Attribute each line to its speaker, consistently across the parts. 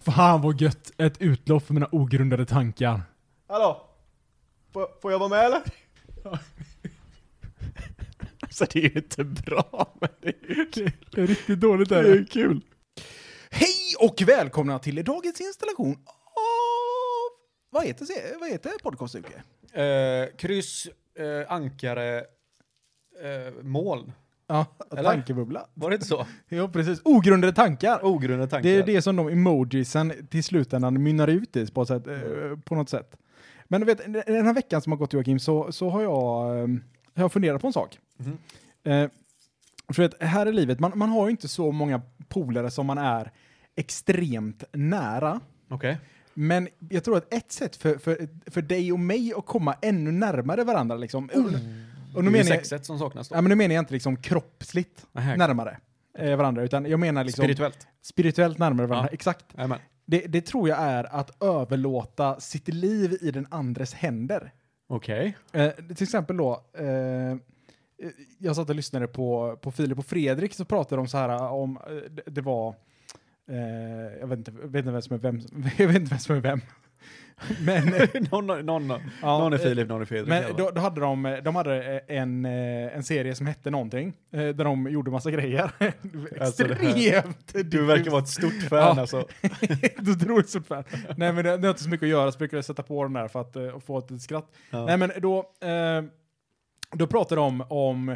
Speaker 1: Fan vad gött! Ett utlopp för mina ogrundade tankar.
Speaker 2: Hallå? Får, får jag vara med eller?
Speaker 3: Alltså det är ju inte bra, men det är ju kul.
Speaker 1: Det är riktigt dåligt
Speaker 3: Det
Speaker 1: där.
Speaker 3: är ju kul.
Speaker 4: Hej och välkomna till dagens installation av... Vad heter, se- vad heter podcasten? Jocke?
Speaker 2: Eh, kryss, eh, ankare, eh, moln.
Speaker 4: Ja,
Speaker 2: Eller?
Speaker 4: tankebubbla.
Speaker 2: Var det inte så?
Speaker 4: Ja, precis. Ogrundade tankar.
Speaker 2: Ogrundade tankar.
Speaker 4: Det är det som de emojisen till slutändan mynnar ut i på, ett sätt, eh,
Speaker 2: Mm.
Speaker 4: på något sätt. Men du vet, den här veckan som har gått Joakim så, så har jag, eh, jag har funderat på en sak.
Speaker 2: Mhm.
Speaker 4: Eh, för att här i livet, man, man har ju inte så många polare som man är extremt nära.
Speaker 2: Okej.
Speaker 4: Men jag tror att ett sätt för, för, för dig och mig att komma ännu närmare varandra liksom. Och nu
Speaker 2: det är
Speaker 4: menar, jag,
Speaker 2: sexet som saknas då.
Speaker 4: ja, men nu menar jag inte liksom kroppsligt
Speaker 2: Nähä.
Speaker 4: närmare eh, varandra, utan jag menar liksom
Speaker 2: Spirituellt.
Speaker 4: spirituellt närmare varandra.
Speaker 2: Ja.
Speaker 4: Exakt.
Speaker 2: Jajamän.
Speaker 4: Det, det tror jag är att överlåta sitt liv i den andres händer.
Speaker 2: Okej.
Speaker 4: Eh, till exempel då, eh, jag satt och lyssnade på, på Filip och Fredrik så pratade de så här om, eh, det, det var, eh, jag vet inte, vet inte vem som är vem, jag vet inte vem som är vem. Men, eh,
Speaker 2: någon, någon,
Speaker 4: ja,
Speaker 2: någon är
Speaker 4: eh,
Speaker 2: Filip, någon är Fredrik. i alla
Speaker 4: Men
Speaker 2: fall.
Speaker 4: då, då hade de, eh, de hade eh, en, eh, en serie som hette någonting, eh, där de gjorde massa grejer.
Speaker 2: Alltså, det här-
Speaker 4: Extremt
Speaker 2: du verkar vara ett stort fan
Speaker 4: Ja.
Speaker 2: alltså.
Speaker 4: Helt otroligt stort fan. Nej men det, det har inte så mycket att göra, så brukar jag sätta på den där för att eh, få ett litet skratt.
Speaker 2: Ja.
Speaker 4: Nej men då, eh, då pratar de om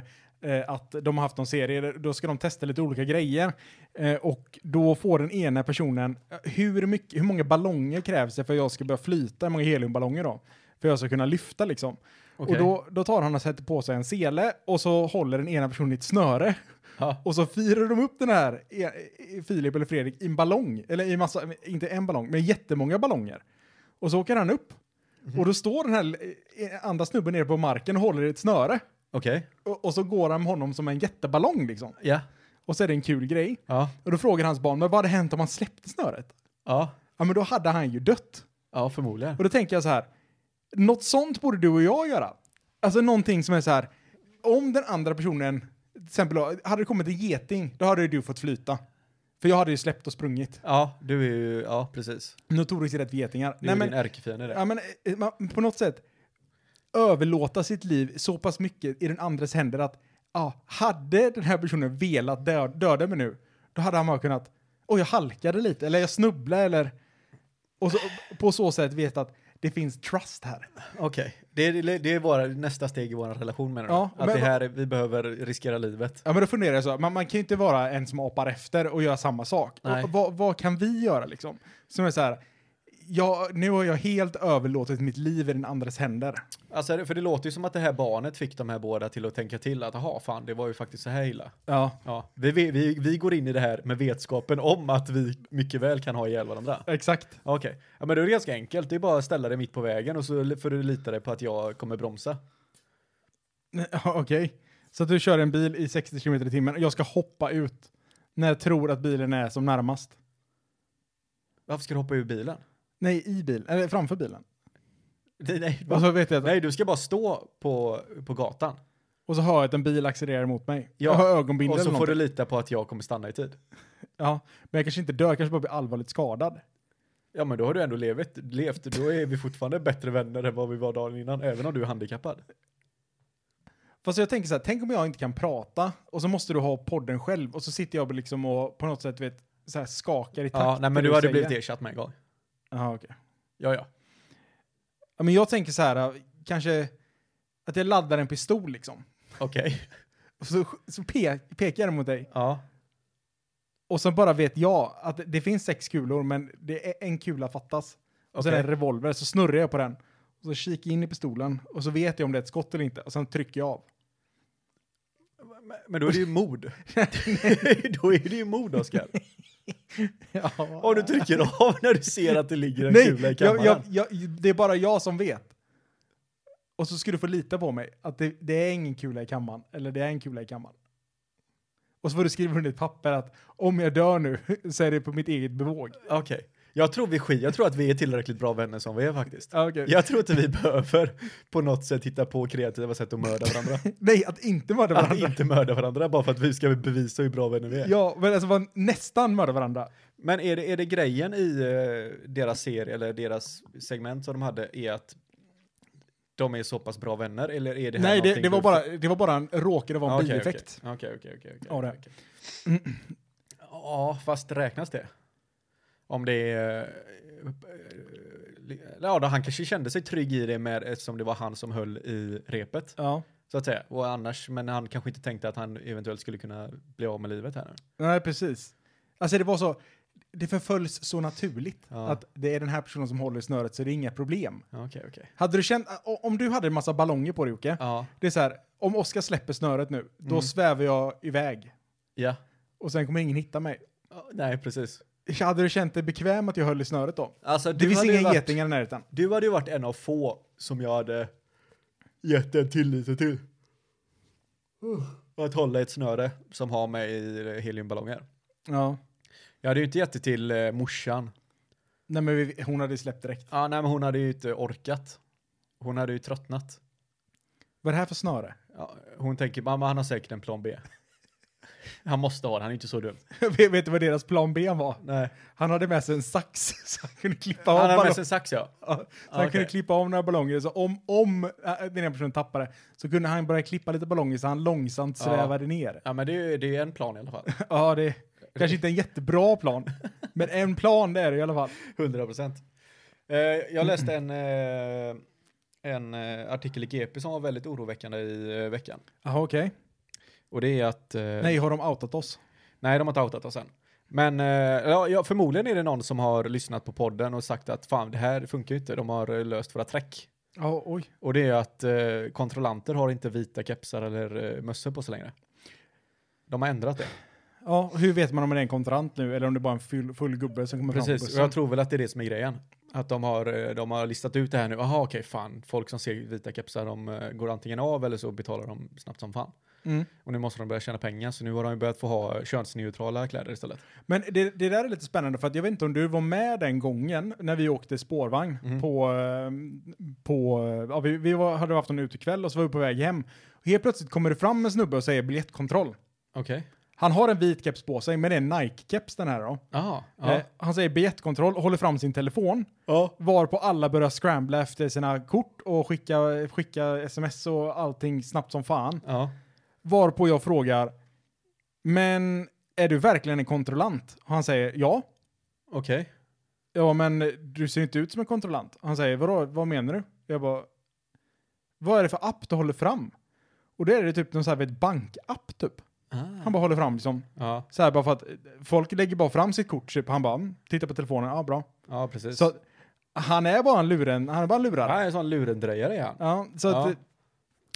Speaker 4: eh, att de har haft någon serie, där- då ska de testa lite olika grejer. Eh, och då får den ena personen, eh, hur, mycket, hur många ballonger krävs det för att jag ska börja flyta, hur många heliumballonger då? För att jag ska kunna lyfta liksom.
Speaker 2: Okej.
Speaker 4: Och då, då tar han och sätter på sig en sele och så håller den ena personen i ett snöre.
Speaker 2: Ja.
Speaker 4: Och så firar de upp den här, eh, eh, Filip eller Fredrik, i en ballong. Eller i massa, inte en ballong, men jättemånga ballonger. Och så åker han upp. Och då står den här eh, andra snubben nere på marken och håller i ett snöre.
Speaker 2: Okej.
Speaker 4: Och, och så går han med honom som en jätteballong liksom.
Speaker 2: Ja.
Speaker 4: Och så är det en kul grej.
Speaker 2: Ja.
Speaker 4: Och då frågar hans barn, men vad hade hänt om han släppte snöret?
Speaker 2: Ja.
Speaker 4: Ja men då hade han ju dött.
Speaker 2: Ja, förmodligen.
Speaker 4: Och då tänker jag så här, något sånt borde du och jag göra. Alltså någonting som är så här, om den andra personen, till exempel då, hade det kommit en geting, då hade ju du fått flyta. För jag hade ju släppt och sprungit.
Speaker 2: Ja, du är ju, ja precis.
Speaker 4: Notoriskt rädd för getingar.
Speaker 2: Du
Speaker 4: Nej,
Speaker 2: är
Speaker 4: men,
Speaker 2: din ärkefiende där.
Speaker 4: ja, men, eh, man, på något sätt, överlåta sitt liv så pass mycket i den andres händer att, ja, hade den här personen velat dö, döda mig nu, då hade han bara kunnat, oj jag halkade lite, eller jag snubblade, eller... Och så, på så sätt veta att det finns trust här.
Speaker 2: Okej, det, det, det är våra, nästa steg i vår relation menar du?
Speaker 4: Ja,
Speaker 2: att
Speaker 4: men-
Speaker 2: det här, är- vi behöver riskera livet.
Speaker 4: Ja men då funderar jag så, här, man, man kan ju inte vara en som apar efter och göra samma sak.
Speaker 2: Nej.
Speaker 4: Och, vad, vad kan vi göra liksom? Som är så här, jag, nu har jag helt överlåtit mitt liv i den andres händer.
Speaker 2: Alltså, det- för det låter ju som att det här barnet fick de här båda till att tänka till att jaha, fan, det var ju faktiskt så här illa.
Speaker 4: Ja.
Speaker 2: Ja, vi, vi, vi, vi går in i det här med vetskapen om att vi mycket väl kan ha ihjäl varandra.
Speaker 4: Exakt.
Speaker 2: Okej, ja, men det är det ganska enkelt. Det är bara att ställa dig mitt på vägen och så får du lita dig på att jag kommer bromsa.
Speaker 4: Ja, Okej. Så att du kör en bil i 60 km i timmen och jag ska hoppa ut när jag tror att bilen är som närmast.
Speaker 2: Varför ska du hoppa ur bilen?
Speaker 4: Nej, i bilen, eller framför bilen.
Speaker 2: Nej, nej,
Speaker 4: Och
Speaker 2: va?
Speaker 4: så vet jag att,
Speaker 2: nej du ska bara stå på, på gatan.
Speaker 4: och så hör jag att en bil accelererar mot mig.
Speaker 2: Ja.
Speaker 4: Jag har ögonbindel
Speaker 2: Och så
Speaker 4: eller
Speaker 2: får du
Speaker 4: någonting.
Speaker 2: lita på att jag kommer stanna i tid.
Speaker 4: Ja, men jag kanske inte dör, jag kanske bara blir allvarligt skadad.
Speaker 2: Ja, men då har du ändå levt, levt. Då är vi fortfarande bättre vänner än vad vi var dagen innan, även om du är handikappad.
Speaker 4: Fast jag tänker så här, tänk om jag inte kan prata och så måste du ha podden själv och så sitter jag liksom och på något sätt vet, så här skakar i takt.
Speaker 2: Ja, nej,
Speaker 4: till
Speaker 2: men du
Speaker 4: det
Speaker 2: hade
Speaker 4: säger.
Speaker 2: blivit ersatt med en gång.
Speaker 4: Ja, okej.
Speaker 2: Ja, ja.
Speaker 4: Ja, men jag tänker så här, äh, kanske att jag laddar en pistol liksom.
Speaker 2: Okej.
Speaker 4: Och så, så pe pekar jag den mot dig.
Speaker 2: Ja.
Speaker 4: Och sen bara vet jag att det finns sex kulor men det är en kula fattas. Och sen
Speaker 2: Okej.
Speaker 4: är det en revolver, så snurrar jag på den. Och så kikar jag in i pistolen och så vet jag om det är ett skott eller inte. Och sen trycker jag av.
Speaker 2: Men- Men då är det ju mod. då är det ju mod, Oskar.
Speaker 4: Ja.
Speaker 2: Om du trycker av när du ser att det ligger en
Speaker 4: Nej,
Speaker 2: kula i kammaren.
Speaker 4: jag, jag, jag, det är bara jag som vet. Och så ska du få lita på mig att det, det är ingen kula i kammaren, eller det är en kula i kammaren. Och så får du skriva under ett papper att om jag dör nu så är det på mitt eget bevåg.
Speaker 2: Okej. Jag tror vi skit. Jag tror att vi är tillräckligt bra vänner som vi är faktiskt.
Speaker 4: Ja, okej.
Speaker 2: Jag tror inte vi behöver på något sätt hitta på kreativa sätt att mörda varandra.
Speaker 4: Nej, att inte mörda
Speaker 2: Att
Speaker 4: varandra.
Speaker 2: inte mörda varandra bara för att vi ska bevisa hur bra vänner vi är.
Speaker 4: Ja, men alltså var nästan mörda varandra.
Speaker 2: Men är det, är det grejen i eh, deras serie eller deras segment som de hade är att de är så pass bra vänner eller är det här
Speaker 4: Nej, det,
Speaker 2: någonting
Speaker 4: det, var
Speaker 2: du- Ah,
Speaker 4: bara, det var bara en, råkade vara en
Speaker 2: Okej, okej.
Speaker 4: bieffekt.
Speaker 2: Okej, okej, okej. okej,
Speaker 4: Ja, det.
Speaker 2: okej. Ja, fast räknas det? Om det är... eh, li- Ja, då han kanske kände sig trygg i det med eftersom det var han som höll i repet,
Speaker 4: Ja.
Speaker 2: så att säga. Och annars, men han kanske inte tänkte att han eventuellt skulle kunna bli av med livet här nu.
Speaker 4: Nej, precis. Alltså det var så, det förföljs så naturligt
Speaker 2: Ja.
Speaker 4: att det är den här personen som håller i snöret så det är inga problem.
Speaker 2: Ja, Okej, okej.
Speaker 4: Hade du känt, o- om du hade en massa ballonger på dig Jocke,
Speaker 2: Ja,
Speaker 4: det är så här, om Oskar släpper snöret nu, då
Speaker 2: Mm.
Speaker 4: svävar jag iväg
Speaker 2: ja.
Speaker 4: och sen kommer ingen hitta mig.
Speaker 2: Ja, Nej, precis.
Speaker 4: Hade du känt dig bekväm att jag höll i snöret då?
Speaker 2: Alltså,
Speaker 4: Det finns
Speaker 2: hade ju
Speaker 4: inga
Speaker 2: varit-
Speaker 4: getingar i närheten.
Speaker 2: Du hade ju varit en av få som jag hade gett den tilliten till. Att hålla i ett snöre som har mig i heliumballonger.
Speaker 4: Ja.
Speaker 2: Jag hade ju inte gett det till eh, morsan.
Speaker 4: Nej men vi, hon hade släppt direkt.
Speaker 2: Ah, nej, men hon hade ju inte orkat. Hon hade ju tröttnat.
Speaker 4: Vad är det här för snöre?
Speaker 2: Ja, hon tänker, mamma han har säkert en plan B. han måste ha det, han är inte så dum.
Speaker 4: vet, vet du vad deras plan B var?
Speaker 2: Nej.
Speaker 4: Han hade med sig en sax så han kunde klippa av
Speaker 2: Han hade
Speaker 4: ballonger.
Speaker 2: med sig en sax ja.
Speaker 4: Ja, så han
Speaker 2: okej.
Speaker 4: kunde klippa av några ballonger. Så om, om äh, den ena personen tappade så kunde han börja klippa lite ballonger så han långsamt
Speaker 2: Ja.
Speaker 4: svävade ner.
Speaker 2: Ja men det är ju det är en plan i alla fall.
Speaker 4: Ja, det är kanske inte en jättebra plan, men en plan det är det i alla fall.
Speaker 2: 100 procent. Eh, jag läste en, eh, en eh, artikel i GP som var väldigt oroväckande i eh, veckan.
Speaker 4: Jaha, okej.
Speaker 2: Och det är att... eh,
Speaker 4: Nej, har de outat oss?
Speaker 2: Nej, de har inte outat oss än. Men eh, ja, ja, förmodligen är det någon som har lyssnat på podden och sagt att fan, det här funkar ju inte, de har eh, löst våra track.
Speaker 4: Ja, oj.
Speaker 2: Och det är att eh, kontrollanter har inte vita kepsar eller eh, mössor på sig längre. De har ändrat det.
Speaker 4: Ja, hur vet man om det är en kontrant nu eller om det är bara en full, full gubbe som kommer fram på
Speaker 2: Precis, och
Speaker 4: bussen?
Speaker 2: jag tror väl att det är det som är grejen. Att de har, eh, de har listat ut det här nu. Jaha, okej, fan. Folk som ser vita kepsar, de eh, går antingen av eller så betalar de snabbt som fan.
Speaker 4: Mm.
Speaker 2: Och nu måste de börja tjäna pengar, så nu har de ju börjat få ha eh, könsneutrala kläder istället.
Speaker 4: Men det, det där är lite spännande för att jag vet inte om du var med den gången när vi åkte spårvagn
Speaker 2: Mm.
Speaker 4: på, eh, på eh, ja, vi, vi var, hade haft en utekväll och så var vi på väg hem. Och helt plötsligt kommer det fram en snubbe och säger biljettkontroll.
Speaker 2: Okej.
Speaker 4: Han har en vit keps på sig, men det är en Nike-keps den här då.
Speaker 2: Jaha. Ja.
Speaker 4: Eh, han säger biljettkontroll och håller fram sin telefon.
Speaker 2: ja.
Speaker 4: Varpå alla börjar scrambla efter sina kort och skicka, skicka sms och allting snabbt som fan.
Speaker 2: Ja.
Speaker 4: Varpå jag frågar, men är du verkligen en kontrollant? Och han säger ja.
Speaker 2: Okej.
Speaker 4: Ja, men du ser inte ut som en kontrollant. Han säger, vadå, vad menar du? Jag bara, vad är det för app du håller fram? Och det är det typ någon sån här vet, bankapp typ. Han bara håller fram liksom,
Speaker 2: Ah. Ja.
Speaker 4: så här bara för att eh, folk lägger bara fram sitt kort typ. Han bara, mm, tittar på telefonen, ja bra.
Speaker 2: ja, precis.
Speaker 4: Så att han är bara en luren, han är bara en lurare.
Speaker 2: han är en sån lurendrejare är han.
Speaker 4: Ja, så
Speaker 2: Ja.
Speaker 4: att eh,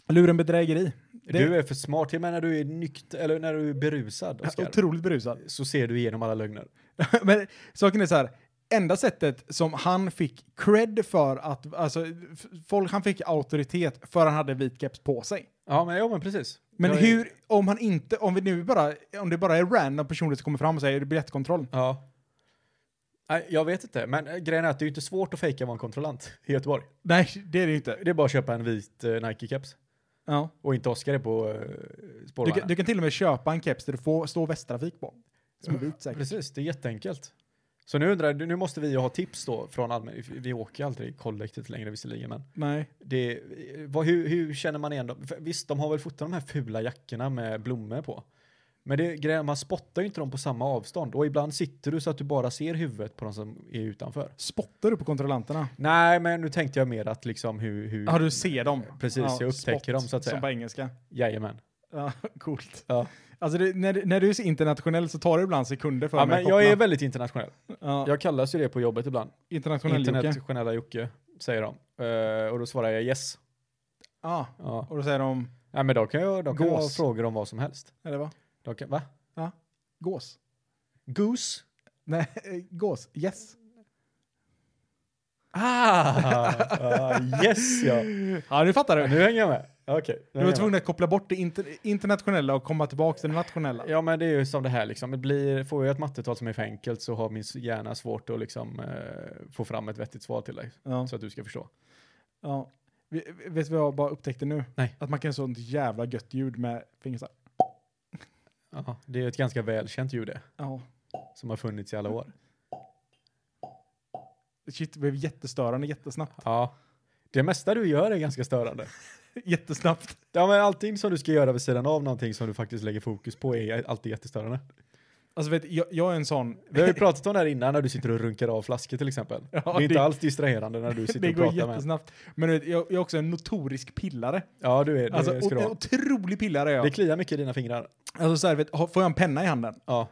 Speaker 4: luren bedrägeri. Det
Speaker 2: Du är för smart. Till och med när du är nykter, eller när du är berusad, Oskar,
Speaker 4: otroligt berusad.
Speaker 2: så ser du igenom alla lögner.
Speaker 4: Men saken är så här, enda sättet som han fick cred för att, alltså, f- folk, han fick auktoritet för han hade vit keps på sig.
Speaker 2: Ja, men, ja, men precis.
Speaker 4: Men
Speaker 2: Jag är-
Speaker 4: hur, om han inte, om vi nu bara, om det bara är random personer som kommer fram och säger "Är det biljettkontroll.
Speaker 2: Ja. Nej, jag vet inte, men eh, grejen är att det är ju inte svårt att fejka att vara en kontrollant i Göteborg.
Speaker 4: Nej, det är det ju inte.
Speaker 2: Det är bara att köpa en vit eh, Nike-keps
Speaker 4: Ja.
Speaker 2: och inte Oscar är på eh,
Speaker 4: Du,
Speaker 2: spårvagnen.
Speaker 4: kan- du kan till och med köpa en keps där du får stå västtrafik på. Som är vit säkert.
Speaker 2: Precis, det är jätteenkelt. Så nu undrar jag, nu måste vi ju ha tips då från allmän... Vi åker ju aldrig kollektivt längre visserligen, men
Speaker 4: Nej.
Speaker 2: det, eh, vad, hur, hur känner man igen dem? För Visst, de har väl fortfarande de här fula jackorna med blommor på. Men det är grejen, man spottar ju inte dem på samma avstånd och ibland sitter du så att du bara ser huvudet på de som är utanför.
Speaker 4: Spottar du på kontrollanterna?
Speaker 2: Nej, men nu tänkte jag mer att liksom hur... hur
Speaker 4: Ja, du ser dem.
Speaker 2: Precis, jag upptäcker dem, så att säga.
Speaker 4: Som på engelska.
Speaker 2: Jajamän.
Speaker 4: Ja, coolt.
Speaker 2: Ja.
Speaker 4: Alltså det, när, du- när du är så internationell så tar det ibland sekunder för
Speaker 2: Ja,
Speaker 4: mig
Speaker 2: men
Speaker 4: att
Speaker 2: jag är
Speaker 4: koppla.
Speaker 2: väldigt internationell.
Speaker 4: ja,
Speaker 2: Jag kallas ju det på jobbet ibland.
Speaker 4: Internationell Jocke.
Speaker 2: Internationella Jocke, säger de. Eh, och då svarar jag yes.
Speaker 4: Ja,
Speaker 2: Ja.
Speaker 4: och då säger de,
Speaker 2: Nej, men då kan jag, då kan jag ha
Speaker 4: Gås.
Speaker 2: frågor om vad som helst.
Speaker 4: eller vad?
Speaker 2: Då kan, va?
Speaker 4: Gås?
Speaker 2: Goose?
Speaker 4: Nej, eh, gås. Yes.
Speaker 2: Ah! ah, yes, ja.
Speaker 4: Ja, nu fattar
Speaker 2: Nu hänger jag med. Okej.
Speaker 4: Du var
Speaker 2: nu hänger jag med.
Speaker 4: tvungen att koppla bort det inter- internationella och komma tillbaka till det nationella.
Speaker 2: Ja men det är ju som det här liksom, det blir, får jag ett mattetal som är för enkelt så har min hjärna svårt att liksom eh, få fram ett vettigt svar till dig.
Speaker 4: Ja.
Speaker 2: Så att du ska förstå.
Speaker 4: Ja. Vi- vi- Vet du vad jag bara upptäckte nu?
Speaker 2: Nej.
Speaker 4: Att man kan göra sånt jävla gött ljud med fingrar.
Speaker 2: Ja, det är ett ganska välkänt ljud det,
Speaker 4: Ja.
Speaker 2: som har funnits i alla år.
Speaker 4: Shit, det blev jättestörande jättesnabbt.
Speaker 2: Ja. Det mesta du gör är ganska störande.
Speaker 4: Jättesnabbt.
Speaker 2: Ja, men allting som du ska göra vid sidan av någonting som du faktiskt lägger fokus på är alltid jättestörande.
Speaker 4: Alltså vet du, jag, jag är en sån...
Speaker 2: Vi har ju pratat om det här innan när du sitter och runkar av flaskor till exempel.
Speaker 4: Ja,
Speaker 2: det är inte
Speaker 4: det-
Speaker 2: alls distraherande när du sitter
Speaker 4: Det
Speaker 2: och
Speaker 4: går
Speaker 2: pratar med en.
Speaker 4: jättesnabbt. Men du vet, jag, jag är också en notorisk pillare.
Speaker 2: Ja, du är det.
Speaker 4: Alltså,
Speaker 2: ska du
Speaker 4: o- en
Speaker 2: ha.
Speaker 4: otrolig pillare är jag.
Speaker 2: Det kliar mycket i dina fingrar.
Speaker 4: Alltså så här, vet, har- får jag en penna i handen?
Speaker 2: Ja.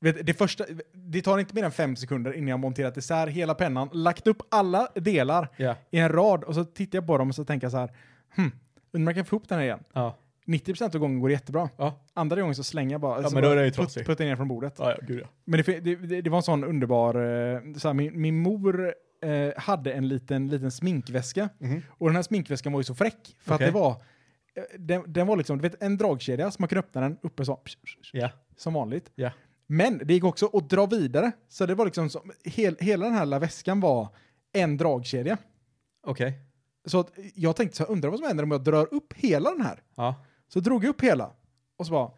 Speaker 4: Vet, det, första, det tar inte mer än fem sekunder innan jag monterat isär hela pennan, lagt upp alla delar
Speaker 2: Ja.
Speaker 4: i en rad och så tittar jag på dem och så tänker jag så här, hmm, undrar om jag kan få ihop den här igen.
Speaker 2: Ja.
Speaker 4: 90% av gången går det jättebra.
Speaker 2: Ja.
Speaker 4: Andra gången så slänger jag bara, så
Speaker 2: men då
Speaker 4: bara
Speaker 2: är det ju
Speaker 4: putt-
Speaker 2: trasig.
Speaker 4: puttar ner från bordet.
Speaker 2: Ja, ja, gud ja.
Speaker 4: Men det, det, det, det var en sån underbar, eh, så här, min, min mor eh, hade en liten, liten sminkväska.
Speaker 2: Mhm.
Speaker 4: Och den här sminkväskan var ju så fräck, för
Speaker 2: Okej.
Speaker 4: att det var, eh, den, den var liksom, du vet en dragkedja som man kunde öppna den uppe så, psh, psh, psh,
Speaker 2: Ja.
Speaker 4: som vanligt.
Speaker 2: Ja.
Speaker 4: Men det gick också att dra vidare, så det var liksom, som, hel, hela den här lilla väskan var en dragkedja.
Speaker 2: Okej.
Speaker 4: Så att jag tänkte så här, undrar vad som händer om jag drar upp hela den här.
Speaker 2: Ja.
Speaker 4: Så drog jag upp hela, och så bara,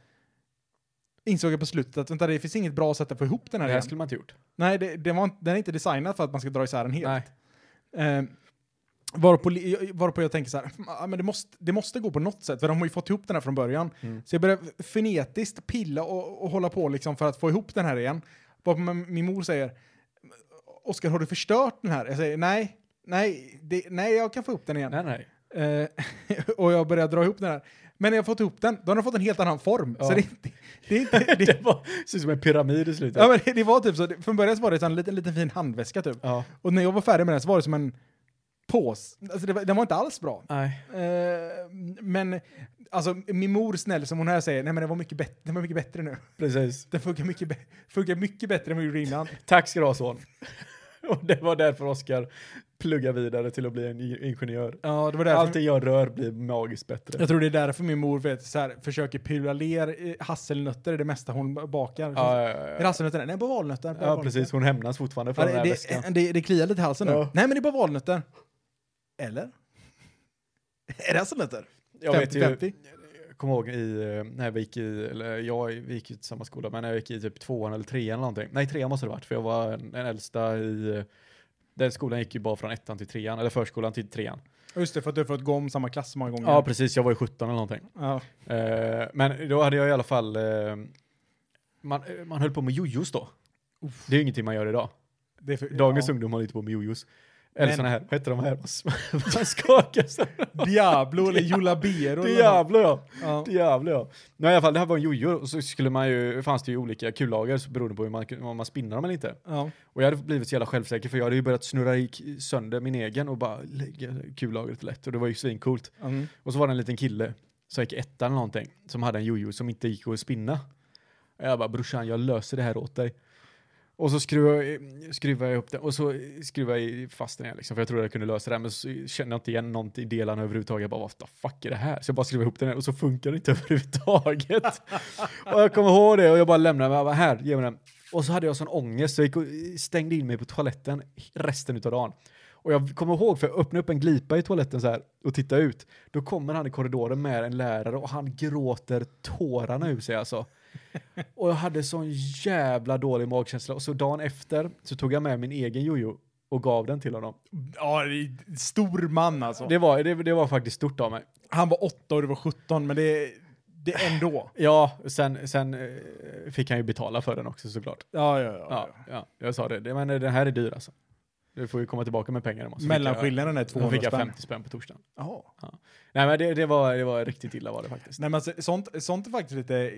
Speaker 4: insåg jag på slutet att vänta, det finns inget bra sätt att få ihop den
Speaker 2: Det
Speaker 4: här
Speaker 2: här
Speaker 4: igen.
Speaker 2: skulle man inte gjort.
Speaker 4: Nej, det, det var, inte- den är inte designad för att man ska dra isär den helt.
Speaker 2: Nej.
Speaker 4: Eh, varpå, li- jag- varpå jag tänker så här, "Ah, men det måste, det måste gå på något sätt, för de har ju fått ihop den här från början.
Speaker 2: Mm.
Speaker 4: Så jag börjar frenetiskt pilla och, och hålla på liksom för att få ihop den här igen. Varpå min min mor säger, Oskar har du förstört den här? Jag säger nej, nej, det, nej jag kan få ihop den igen.
Speaker 2: Nej, nej.
Speaker 4: Eh, och jag börjar dra ihop den här. Men när jag fått ihop den, då har den fått en helt annan form.
Speaker 2: Ja.
Speaker 4: Så det, är inte- det är inte... Det,
Speaker 2: Det var, ser ut som en pyramid i slutet.
Speaker 4: ja, men det, det var typ så, från början så var det så en liten, liten fin handväska typ.
Speaker 2: ja.
Speaker 4: Och när jag var färdig med den så var det som en pås. Alltså det var, den var inte alls bra.
Speaker 2: Nej.
Speaker 4: Eh, men alltså min mor snäll som hon här säger, nej men den var mycket, bättre, den var mycket bättre nu.
Speaker 2: Precis.
Speaker 4: Den funkar mycket, bä- funkar mycket bättre än vad vi gjorde innan.
Speaker 2: Tack ska du ha son. Och det var därför Oskar pluggar vidare till att bli en i- ingenjör.
Speaker 4: Ja, det var därför.
Speaker 2: Allting jag rör blir magiskt bättre.
Speaker 4: Jag tror det är därför min mor vet, så här, försöker pyla ler eh, hasselnötter, är det mesta hon bakar.
Speaker 2: Ja,
Speaker 4: Är
Speaker 2: ja,
Speaker 4: det
Speaker 2: ja.
Speaker 4: hasselnötter? Nej, bara valnötter. bara
Speaker 2: ja
Speaker 4: valnötter.
Speaker 2: precis. Hon hämnas fortfarande för
Speaker 4: Ja,
Speaker 2: den här
Speaker 4: det,
Speaker 2: väskan.
Speaker 4: det, det, det kliar lite i halsen nu.
Speaker 2: Ja.
Speaker 4: Nej, men det är bara valnötter. Eller? är det hasselnötter?
Speaker 2: Jag vet ju,
Speaker 4: 50-50?
Speaker 2: jag kommer ihåg i, eh, när vi gick i, eller jag, vi gick i samma skola, men när jag gick i typ tvåan eller trean eller någonting. Nej, trean måste det varit, för jag var en- den äldsta i, eh, den skolan gick ju bara från ettan till trean, eller förskolan till trean.
Speaker 4: Ja, Just det, för att du har fått gå om samma klass så många gånger.
Speaker 2: Ja, precis, jag var ju 17 eller någonting.
Speaker 4: Ja.
Speaker 2: Eh, men då hade jag i alla fall, eh, man, eh, man höll på med jojos då. Det är ju ingenting man gör idag.
Speaker 4: Det är för,
Speaker 2: Dagens
Speaker 4: ja.
Speaker 2: ungdom håller inte på med jojos. Eller
Speaker 4: Men-
Speaker 2: såna här, vad heter de här? Man skakar så.
Speaker 4: Diablo eller Jula Biero. eller något.
Speaker 2: Diablo ja.
Speaker 4: Ja.
Speaker 2: Jävlar ja. Nej, i alla fall, det här var en jojo och så skulle man ju, fanns det ju olika kullager så beroende på hur man, om man spinnar dem eller inte.
Speaker 4: Ja.
Speaker 2: Och jag hade blivit så jävla självsäker för jag hade ju börjat snurra i, sönder min egen och bara lägga kullagret lätt och det var ju svincoolt.
Speaker 4: Mm.
Speaker 2: Och så var det en liten kille som gick i ettan eller någonting som hade en jojo som inte gick att spinna. Och jag bara brorsan jag löser det här åt dig. Och så skruvade jag, skruvade jag upp den och så skruvade jag fast den igen liksom, för jag trodde jag kunde lösa det här men så kände jag inte igen något i delarna överhuvudtaget. Jag bara what the fuck är det här? Så jag bara skruvade ihop den här och så funkar det inte överhuvudtaget. och jag kommer ihåg det och jag bara lämnade mig. Jag bara, här, ge mig den. Och så hade jag sån ångest så jag gick och stängde in mig på toaletten resten utav dagen. Och jag kommer ihåg, för jag öppnade upp en glipa i toaletten så här och tittade ut. Då kommer han i korridoren med en lärare och han gråter tårarna ur sig alltså. Och jag hade sån jävla dålig magkänsla. Och så dagen efter så tog jag med min egen jojo och gav den till honom.
Speaker 4: ja, det är stor man alltså.
Speaker 2: Det var, det, det var faktiskt stort av mig.
Speaker 4: Han var 8 och du var 17, men det, det är ändå.
Speaker 2: Ja, sen, sen eh, fick han ju betala för den också såklart.
Speaker 4: Ja, ja, ja.
Speaker 2: Ja, ja jag sa det. det. Men eh, den här är dyr alltså. Du får ju komma tillbaka med pengar. imorgon. Så fick jag-
Speaker 4: Mellanskillnaden är
Speaker 2: Då
Speaker 4: 200
Speaker 2: fick jag
Speaker 4: spänn.
Speaker 2: 50 spänn på torsdagen.
Speaker 4: Jaha.
Speaker 2: Nej men det, det, var, det var riktigt illa var det faktiskt.
Speaker 4: Nej, men alltså, sånt, sånt är faktiskt lite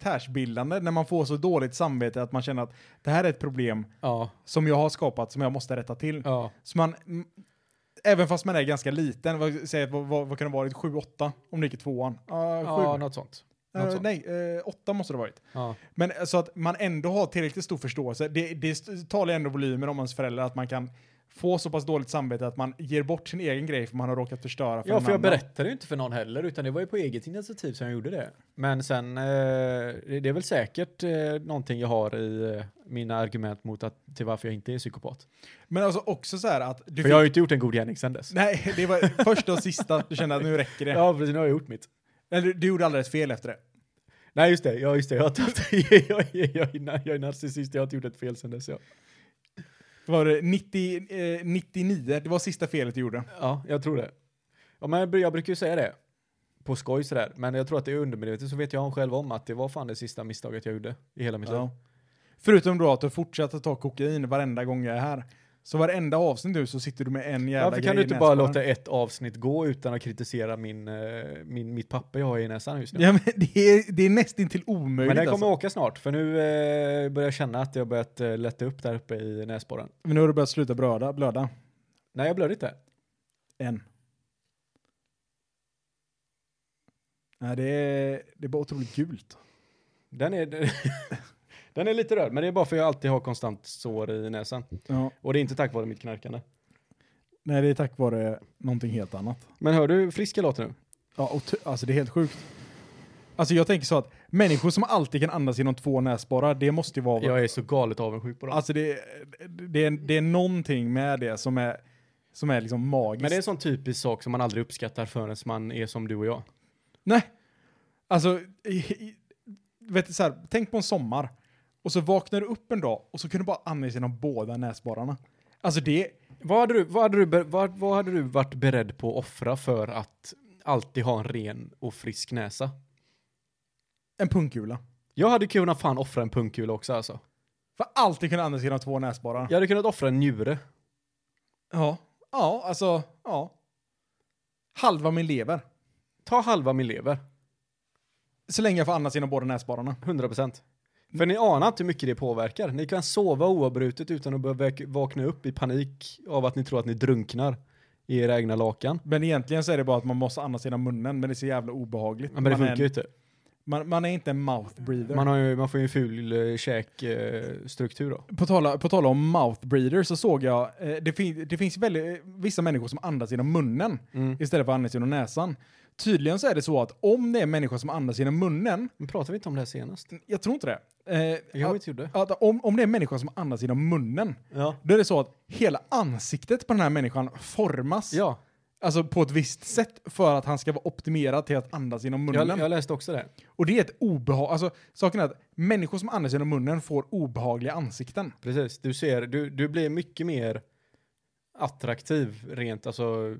Speaker 4: karaktärsbildande när man får så dåligt samvete att man känner att det här är ett problem
Speaker 2: Ja,
Speaker 4: som jag har skapat som jag måste rätta till.
Speaker 2: ja.
Speaker 4: Så man, mm, även fast man är ganska liten, vad, säg, att vad, vad, vad kan det ha varit, 7-8 om det gick i tvåan?
Speaker 2: Ja,
Speaker 4: Ja, sju.
Speaker 2: något sånt.
Speaker 4: Eh,
Speaker 2: något sånt.
Speaker 4: nej, eh, åtta måste det ha varit.
Speaker 2: Ja.
Speaker 4: Men eh, så att man ändå har tillräckligt stor förståelse, det, det st- talar ju ändå volymer om ens föräldrar att man kan få så pass dåligt samvete att man ger bort sin egen grej för man har råkat förstöra för
Speaker 2: Ja,
Speaker 4: någon
Speaker 2: för jag
Speaker 4: annan.
Speaker 2: berättade ju inte för någon heller, utan det var ju på eget initiativ som jag gjorde det. Men sen, eh, det det är väl säkert eh, någonting jag har i eh, mina argument mot att, till varför jag inte är psykopat.
Speaker 4: Men alltså också så här att... Du
Speaker 2: för jag har ju inte gjort en god gärning sen dess.
Speaker 4: Nej, det var första och sista. Du kände att nu räcker det.
Speaker 2: Ja, precis, nu har jag gjort mitt.
Speaker 4: Eller du gjorde alldeles fel efter det.
Speaker 2: Nej, just det, ja, just det, jag, har inte haft- jag, jag, jag, jag, är na- jag är narcissist, jag har inte gjort ett fel sen dess. Ja.
Speaker 4: var det 90, eh, 99, det var sista felet du gjorde.
Speaker 2: Ja, jag tror det. Ja, men jag bru- jag brukar ju säga det. På skoj sådär. Men jag tror att det är undermedvetet så vet jag själv om att det var fan det sista misstaget jag gjorde i hela mitt liv.
Speaker 4: Ja. Förutom då att du fortsatt att ta kokain varenda gång jag är här. Så varenda avsnitt nu så sitter du med en jävla
Speaker 2: Varför
Speaker 4: grej
Speaker 2: kan du inte
Speaker 4: i
Speaker 2: bara
Speaker 4: näsborren.
Speaker 2: låta ett avsnitt gå utan att kritisera min, eh, min, mitt papper jag har i näsan just nu?
Speaker 4: Ja, men det, är, det är nästintill omöjligt
Speaker 2: men den kommer
Speaker 4: alltså.
Speaker 2: åka snart, för nu eh, börjar jag känna att jag börjat eh, lätta upp där uppe i näsborren.
Speaker 4: Men nu har du börjat sluta blöda. blöda.
Speaker 2: Nej, jag blöder inte.
Speaker 4: En. Nej, det är, det är bara otroligt gult.
Speaker 2: Den är, den är lite röd, men det är bara för att jag alltid har konstant sår i näsan.
Speaker 4: Ja.
Speaker 2: Och det är inte tack vare mitt knarkande.
Speaker 4: Nej, det är tack vare någonting helt annat.
Speaker 2: Men hör du friska låter nu?
Speaker 4: Ja, och t- alltså det är helt sjukt. Alltså jag tänker så att människor som alltid kan andas genom två näsborrar, det måste ju vara...
Speaker 2: Jag är så galet avundsjuk på dem.
Speaker 4: Alltså det, det, är, det är någonting med det som är, som är liksom magiskt.
Speaker 2: Men det är en sån typisk sak som man aldrig uppskattar förrän man är som du och jag.
Speaker 4: Nej. Alltså, i, i, vet du, så här, tänk på en sommar. Och så vaknar du upp en dag och så kan du bara andas genom båda näsborrarna. Alltså det,
Speaker 2: Vad hade du, vad hade du, be- vad, vad hade du varit beredd på att offra för att alltid ha en ren och frisk näsa?
Speaker 4: en pungkula.
Speaker 2: Jag hade kunnat fan offra en pungkula också alltså.
Speaker 4: För alltid kunna andas genom två näsborrar.
Speaker 2: Jag hade kunnat offra en njure.
Speaker 4: Ja. Ja, alltså, ja. Halva min lever.
Speaker 2: Ta halva min lever,
Speaker 4: Så länge jag får andas genom båda näsborrarna.
Speaker 2: 100%. För ni anar inte hur mycket det påverkar. Ni kan sova oavbrutet utan att behöva väk- vakna upp i panik av att ni tror att ni drunknar i era egna lakan.
Speaker 4: Men egentligen så är det bara att man måste andas genom munnen, men det är så jävla obehagligt.
Speaker 2: Men det
Speaker 4: man, är
Speaker 2: funkar ju
Speaker 4: en,
Speaker 2: inte.
Speaker 4: man, man är inte en mouth breather.
Speaker 2: Man, har ju, man får ju en ful eh, käkstruktur då.
Speaker 4: På tala, på tala om mouth breather så såg jag, eh, det, fin, det finns väldigt, eh, vissa människor som andas genom munnen
Speaker 2: Mm.
Speaker 4: istället för att andas genom näsan. Tydligen så är det så att om det är människor som andas genom munnen,
Speaker 2: Men pratade vi inte om det här senast?
Speaker 4: jag tror inte det, eh,
Speaker 2: Jag
Speaker 4: att,
Speaker 2: inte gjorde.
Speaker 4: att om, om det är människor som andas genom munnen,
Speaker 2: Ja.
Speaker 4: då är det så att hela ansiktet på den här människan formas
Speaker 2: Ja,
Speaker 4: alltså på ett visst sätt för att han ska vara optimerad till att andas genom munnen.
Speaker 2: jag, jag läste också det.
Speaker 4: Och det är ett obehag, alltså saken är att människor som andas genom munnen får obehagliga ansikten.
Speaker 2: Precis, du ser, du, du blir mycket mer attraktiv rent, alltså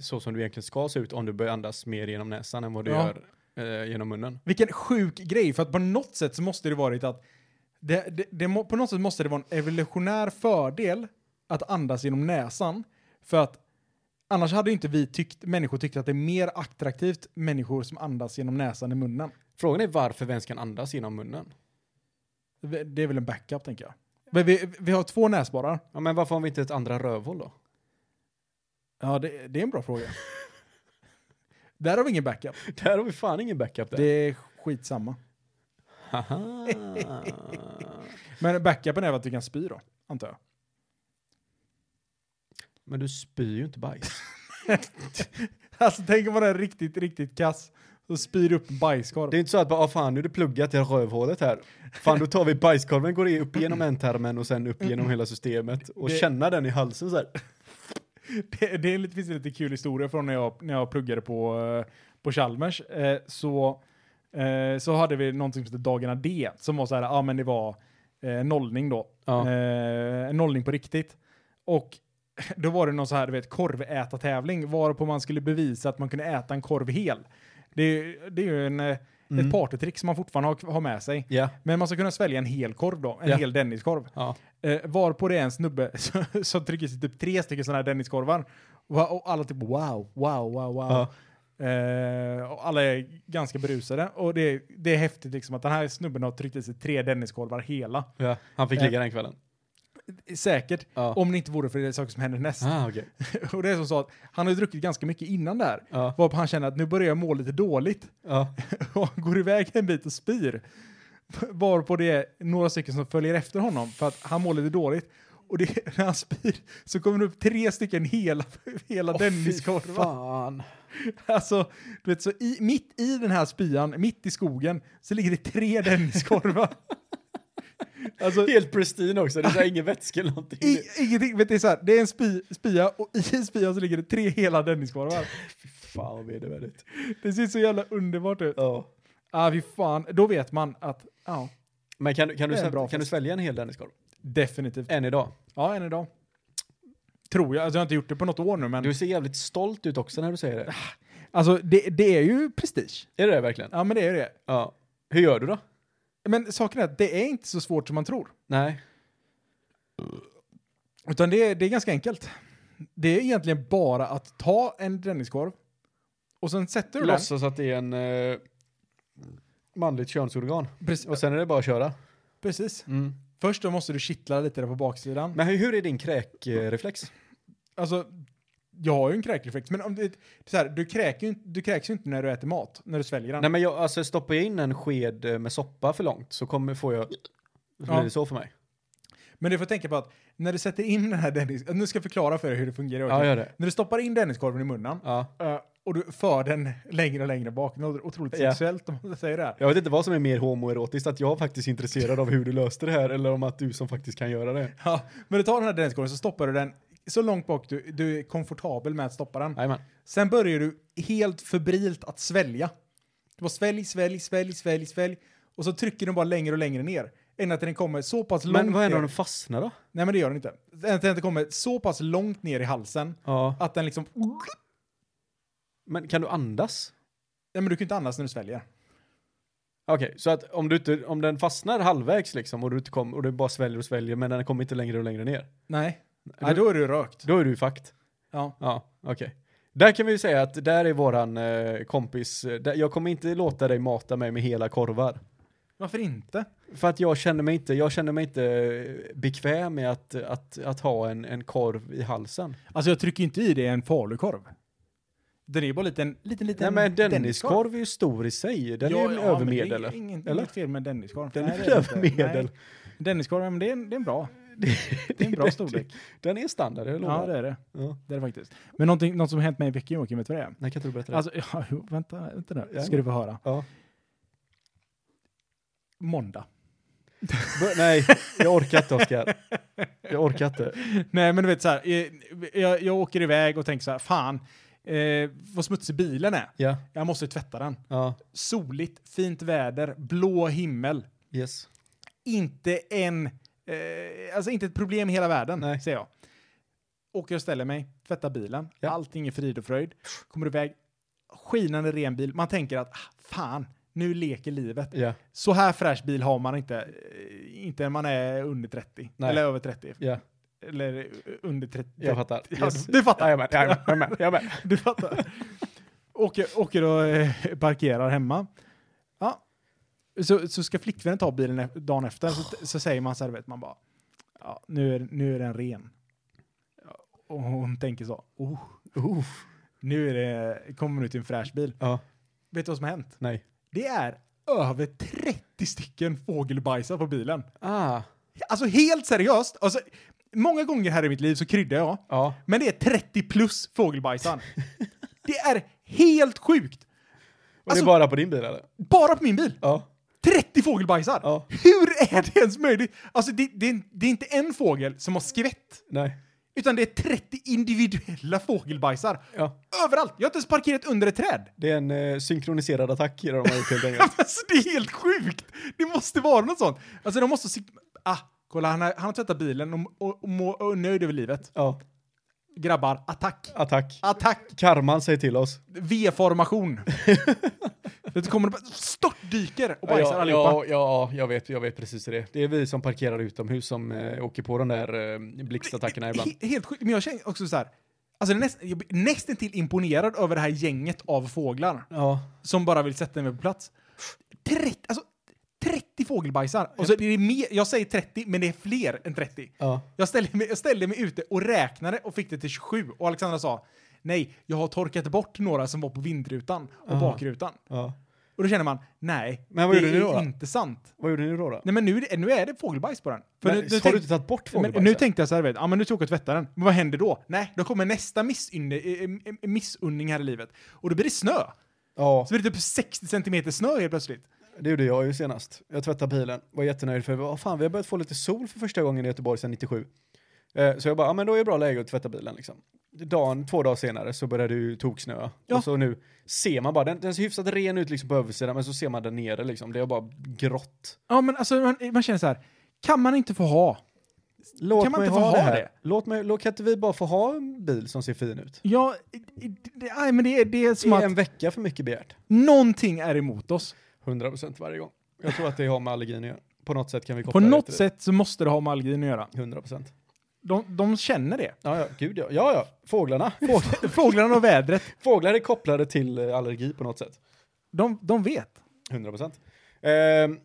Speaker 2: så som du egentligen ska se ut om du börjar andas mer genom näsan än vad du
Speaker 4: Ja.
Speaker 2: gör eh, genom munnen.
Speaker 4: Vilken sjuk grej, för att på något sätt så måste det varit att det, det, det, må- på något sätt måste det vara en evolutionär fördel att andas genom näsan. För att annars hade ju inte vi tyckt, människor tyckt att det är mer attraktivt människor som andas genom näsan i munnen.
Speaker 2: Frågan är varför vi ens kan andas genom munnen.
Speaker 4: Det det är väl en backup tänker jag. Men vi, vi har två näsborrar.
Speaker 2: Ja, men varför har vi inte ett andra rövhål då?
Speaker 4: Ja, det, det är en bra fråga. Där har vi ingen backup.
Speaker 2: Där har vi fan ingen backup där.
Speaker 4: Det är skitsamma.
Speaker 2: Haha.
Speaker 4: Men backupen är väl att vi kan spy då, antar jag.
Speaker 2: men du spyr ju inte bajs.
Speaker 4: Alltså tänk om man är riktigt, riktigt kass och spyr upp en bajskorv.
Speaker 2: Det är inte så att bara, ah, fan nu är det pluggat i rövhålet här. Fan då tar vi bajskorven, går i- upp genom ändtarmen och sen upp genom hela systemet och
Speaker 4: Det-
Speaker 2: känna den i halsen så här.
Speaker 4: Det, det är lite, finns en lite kul historia från när jag, när jag pluggade på, eh, på Chalmers. Eh, så, eh, så hade vi någonting som hette Dagarna D, som var så här, ja men det var eh, nollning då.
Speaker 2: Ja.
Speaker 4: Eh, en nollning på riktigt. Och då var det någon så här, du vet, korvätartävling, varpå man skulle bevisa att man kunde äta en korv hel. Det, är ju- det är ju en, eh,
Speaker 2: Mm.
Speaker 4: ett partytrick som man fortfarande har, har med sig.
Speaker 2: Ja.
Speaker 4: Men man ska kunna svälja en hel korv då, en
Speaker 2: Ja.
Speaker 4: hel Denniskorv.
Speaker 2: Ja.
Speaker 4: Eh, varpå det är en snubbe som, som trycker sig typ tre stycken sådana här Denniskorvar. Och, och alla typ wow, wow, wow, wow.
Speaker 2: Ja.
Speaker 4: Eh, och alla är ganska berusade. Och det, det är häftigt liksom att den här snubben har tryckt i sig tre Denniskorvar hela.
Speaker 2: Ja, han
Speaker 4: Eh.
Speaker 2: fick ligga den kvällen.
Speaker 4: Säkert.
Speaker 2: Ja.
Speaker 4: Om det inte vore för det saker som händer näst.
Speaker 2: Ah, okej.
Speaker 4: och det är som så att han har ju druckit ganska mycket innan där.
Speaker 2: Ja.
Speaker 4: Varpå han känner att nu börjar jag må lite dåligt.
Speaker 2: Ja.
Speaker 4: och han går iväg en bit och spyr. Varpå det är några stycken som följer efter honom för att han mår lite dåligt. Och det, när han spyr så kommer det upp tre stycken hela, hela Denniskorvar.
Speaker 2: Fan.
Speaker 4: Alltså, du vet, så i, mitt i den här spyan, mitt i skogen, så ligger det tre Denniskorvar. alltså,
Speaker 2: Helt pristine också, det är så här ingen vätska eller någonting.
Speaker 4: i, ingenting, vet du, det är så här, det är en spy, spya och i spyan så ligger det tre hela Denniskorvar.
Speaker 2: Fy fan vad vedervärdigt.
Speaker 4: Det ser så jävla underbart ut.
Speaker 2: Ja.
Speaker 4: Ah, fy fan. Då vet man att, ja.
Speaker 2: Men kan, du- kan, du,
Speaker 4: Det är en
Speaker 2: svä-
Speaker 4: bra
Speaker 2: kan du
Speaker 4: fest.
Speaker 2: svälja en hel Denniskorv?
Speaker 4: Definitivt.
Speaker 2: Än idag.
Speaker 4: Ja, än idag. Tror jag. Alltså jag har inte gjort det på något år nu, men...
Speaker 2: Du ser jävligt stolt ut också när du säger det.
Speaker 4: Alltså det, det är ju prestige.
Speaker 2: Är det det verkligen?
Speaker 4: Ja, men det är ju det.
Speaker 2: Ja. Hur gör du då?
Speaker 4: Men saken är att det är inte så svårt som man tror.
Speaker 2: Nej.
Speaker 4: Utan det, är- det är ganska enkelt. Det är egentligen bara att ta en dränningskorv och sen sätter du
Speaker 2: Låtsas att det är en eh, manligt könsorgan.
Speaker 4: den. Precis.
Speaker 2: Och sen är det bara att köra.
Speaker 4: precis.
Speaker 2: Mm.
Speaker 4: Först då måste du kittla lite där på baksidan.
Speaker 2: Men hur, hur är din kräkreflex?
Speaker 4: Alltså, jag har ju en kräkreflex, men om det, så här, du, kräker ju, inte- du kräks ju inte när du äter mat, när du sväljer den.
Speaker 2: Nej men jag, alltså stoppar jag in en sked eh, med soppa för långt så kommer, får jag... Så
Speaker 4: Ja.
Speaker 2: blir det så för mig.
Speaker 4: Men du får tänka på att när du sätter in den här Dennis... Nu ska jag förklara för dig hur det fungerar.
Speaker 2: Ja, gör det.
Speaker 4: När du stoppar in Denniskorven i munnen
Speaker 2: Ja.
Speaker 4: eh, och du för den längre och längre bak, det låter otroligt
Speaker 2: Ja.
Speaker 4: sexuellt om man säger det här.
Speaker 2: Jag vet inte vad som är mer homoerotiskt, att jag faktiskt är intresserad av hur du löste det här eller om att du som faktiskt kan göra det.
Speaker 4: Ja, men du tar den här Denniskorven så stoppar du den så långt bak du, du är komfortabel med att stoppa den.
Speaker 2: Jajamän.
Speaker 4: Sen börjar du helt febrilt att svälja. Du bara svälj, svälj, svälj, svälj, svälj. Och så trycker den bara längre och längre ner. Ända till den kommer så pass långt
Speaker 2: Men vad händer
Speaker 4: ner.
Speaker 2: om den fastnar då?
Speaker 4: Nej men det gör den inte. Ända till den kommer så pass långt ner i halsen
Speaker 2: Ja.
Speaker 4: att den liksom...
Speaker 2: Men kan du andas?
Speaker 4: Nej men du kan ju inte andas när du sväljer.
Speaker 2: Okej, så att om, du inte, om den fastnar halvvägs liksom och du, inte kom, och du bara sväljer och sväljer men den kommer inte längre och längre ner.
Speaker 4: Nej. Nej då är du rökt.
Speaker 2: Då är du ju fucked.
Speaker 4: Ja.
Speaker 2: Ja, okej. Där kan vi ju säga att där är våran eh, kompis, eh, där, jag kommer inte låta dig mata mig med hela korvar.
Speaker 4: Varför inte?
Speaker 2: För att jag känner mig inte, jag känner mig inte eh, bekväm med att, att, att ha en, en korv i halsen.
Speaker 4: Alltså jag trycker inte i det en falukorv. Den är ju bara liten, liten,
Speaker 2: Nej
Speaker 4: liten
Speaker 2: men Denniskorv är ju stor i sig, den är ju en övermedel.
Speaker 4: Det är ingen,
Speaker 2: eller?
Speaker 4: inget fel med Denniskorv.
Speaker 2: Den
Speaker 4: Nej,
Speaker 2: är
Speaker 4: det det inte.
Speaker 2: övermedel.
Speaker 4: Nej. Denniskorv, ja, men det är, en- det är en bra. Det är en bra storlek.
Speaker 2: typ- Den är standard, jag lovar.
Speaker 4: Ja, det är det.
Speaker 2: Ja.
Speaker 4: Det är det faktiskt. Men någonting, något som hänt mig i veckan, Joakim, vet du vad det är?
Speaker 2: Nej, kan inte du berätta det?
Speaker 4: Alltså, ja, jo, vänta, vänta nu.
Speaker 2: Ja.
Speaker 4: Ska du få höra.
Speaker 2: ja.
Speaker 4: Måndag.
Speaker 2: B- Nej, jag orkar inte Oskar. Jag orkar inte.
Speaker 4: Nej, men du vet så här. eh, Jag, jag åker iväg och tänker så här, fan, eh, vad smutsig bilen är.
Speaker 2: Ja,
Speaker 4: Jag måste tvätta den.
Speaker 2: ja,
Speaker 4: Soligt, fint väder, blå himmel.
Speaker 2: yes.
Speaker 4: Inte en, eh, alltså inte ett problem i hela världen,
Speaker 2: Nej.
Speaker 4: säger jag. Åker och ställer mig, tvättar bilen.
Speaker 2: Ja.
Speaker 4: Allting är frid och fröjd. Kommer iväg, skinande ren bil. Man tänker att, ah, fan, nu leker livet.
Speaker 2: Ja,
Speaker 4: Så här fräsch bil har man inte, eh, inte när man är under 30.
Speaker 2: Nej.
Speaker 4: Eller över 30.
Speaker 2: ja,
Speaker 4: Eller eh, under 30.
Speaker 2: jag fattar.
Speaker 4: Ja,
Speaker 2: Yes.
Speaker 4: Du fattar.
Speaker 2: Jajamän, jajamän, jajamän, jajamän.
Speaker 4: Du fattar. åker, åker och eh, parkerar hemma. Ja. Så, så ska flickvännen ta bilen e- dagen efter. Så, så säger man så här, vet man bara. Ja, nu är, nu är den ren. Ja, Och hon tänker så. Oh,
Speaker 2: Uh,
Speaker 4: nu är det, kommer hon ut i en fräsch bil.
Speaker 2: ja,
Speaker 4: Vet du vad som har hänt?
Speaker 2: nej.
Speaker 4: Det är över 30 stycken fågelbajsar på bilen.
Speaker 2: Ah,
Speaker 4: Alltså helt seriöst. Alltså, många gånger här i mitt liv så kryddar jag.
Speaker 2: ja.
Speaker 4: Men det är 30 plus fågelbajsaren. det är helt sjukt!
Speaker 2: Och
Speaker 4: Alltså-
Speaker 2: det är bara på din bil eller?
Speaker 4: Bara på min bil.
Speaker 2: Ja.
Speaker 4: 30 fågelbajsar!
Speaker 2: Ja.
Speaker 4: Hur är det ens möjligt? Alltså det, det, det är inte en fågel som har skvätt,
Speaker 2: Nej.
Speaker 4: utan det är 30 individuella fågelbajsar.
Speaker 2: Ja.
Speaker 4: Överallt! Jag har inte ens parkerat under ett träd.
Speaker 2: Det är en eh, synkroniserad attack i det de har gjort helt enkelt.
Speaker 4: Alltså det är helt sjukt! Det måste vara något sånt. Alltså de måste... sik- Ah, kolla han har, han har tvättat bilen och, och, och, må- och är nöjd över livet.
Speaker 2: Ja,
Speaker 4: Grabbar, attack!
Speaker 2: attack.
Speaker 4: Attack!
Speaker 2: Karman säger till oss.
Speaker 4: V-formation. det kommer och bara störtdyker och bajsar
Speaker 2: ja,
Speaker 4: allihopa.
Speaker 2: Ja, ja, jag vet, jag vet precis hur det är. Det är vi som parkerar utomhus som eh, åker på de där eh, blixtattackerna ibland.
Speaker 4: He- helt sjukt, men jag känner också så här. Alltså det är näst, jag blir nästan till imponerad över det här gänget av fåglar
Speaker 2: Ja.
Speaker 4: som bara vill sätta mig på plats. 30, alltså 30 fågelbajsar. Och så är det mer, jag säger 30, men det är fler än 30.
Speaker 2: Ja.
Speaker 4: Jag ställde, mig, jag ställde mig ute och räknade och fick det till 27 och Alexandra sa nej, jag har torkat bort några som var på vindrutan och bakrutan.
Speaker 2: ja.
Speaker 4: Och då känner man nej,
Speaker 2: Men vad
Speaker 4: det
Speaker 2: gjorde ni
Speaker 4: är
Speaker 2: då, då?
Speaker 4: inte sant.
Speaker 2: Vad gjorde ni då? då?
Speaker 4: Nej men nu, är det- nu är det fågelbajs på den. För
Speaker 2: Men,
Speaker 4: nu,
Speaker 2: har
Speaker 4: nu
Speaker 2: du
Speaker 4: tänk-
Speaker 2: inte tagit bort
Speaker 4: men, nu
Speaker 2: fågelbajset?
Speaker 4: tänkte jag så här, vet, ja men nu ska jag åka och tvätta den. Men vad händer då? Nej, då kommer nästa missunne, eh, eh, missunning här i livet. Och då blir det snö.
Speaker 2: Ja,
Speaker 4: Så blir det typ 60 centimeter snö helt plötsligt.
Speaker 2: det gjorde jag ju senast. Jag tvättade bilen. Var jättenöjd för vad fan, vi har börjat få lite sol för första gången i Göteborg sedan 97. Eh, så jag bara, ja men då är det bra läge att tvätta bilen liksom. dagen, två dagar senare så började det ju toksnöa.
Speaker 4: Ja.
Speaker 2: Och så nu ser man bara, den, den ser hyfsat ren ut liksom på översidan men så ser man där nere liksom, det är bara grått.
Speaker 4: Ja, men alltså man, man känner så här, kan man inte få ha?
Speaker 2: Låt
Speaker 4: Kan man
Speaker 2: mig
Speaker 4: inte få
Speaker 2: ha det
Speaker 4: ha
Speaker 2: här.
Speaker 4: det?
Speaker 2: Låt mig, låt, kan inte vi bara få ha en bil som ser fin ut?
Speaker 4: Ja, i- i- det, nej, men det, är- det är som
Speaker 2: Det
Speaker 4: att
Speaker 2: är en vecka för mycket begärt.
Speaker 4: någonting är emot oss.
Speaker 2: 100% varje gång. Jag tror att det har med allergin att göra. På något sätt kan vi koppla
Speaker 4: På
Speaker 2: det
Speaker 4: något
Speaker 2: till
Speaker 4: sätt så måste det ha med allergin att göra.
Speaker 2: det. 100%.
Speaker 4: De, de känner det.
Speaker 2: Ja, ja, gud ja. Ja, ja. Fåglarna.
Speaker 4: Fåg- Fåglarna och vädret,
Speaker 2: Fåglar är kopplade till eh, allergi på något sätt.
Speaker 4: de, de vet.
Speaker 2: 100 procent. Ehm,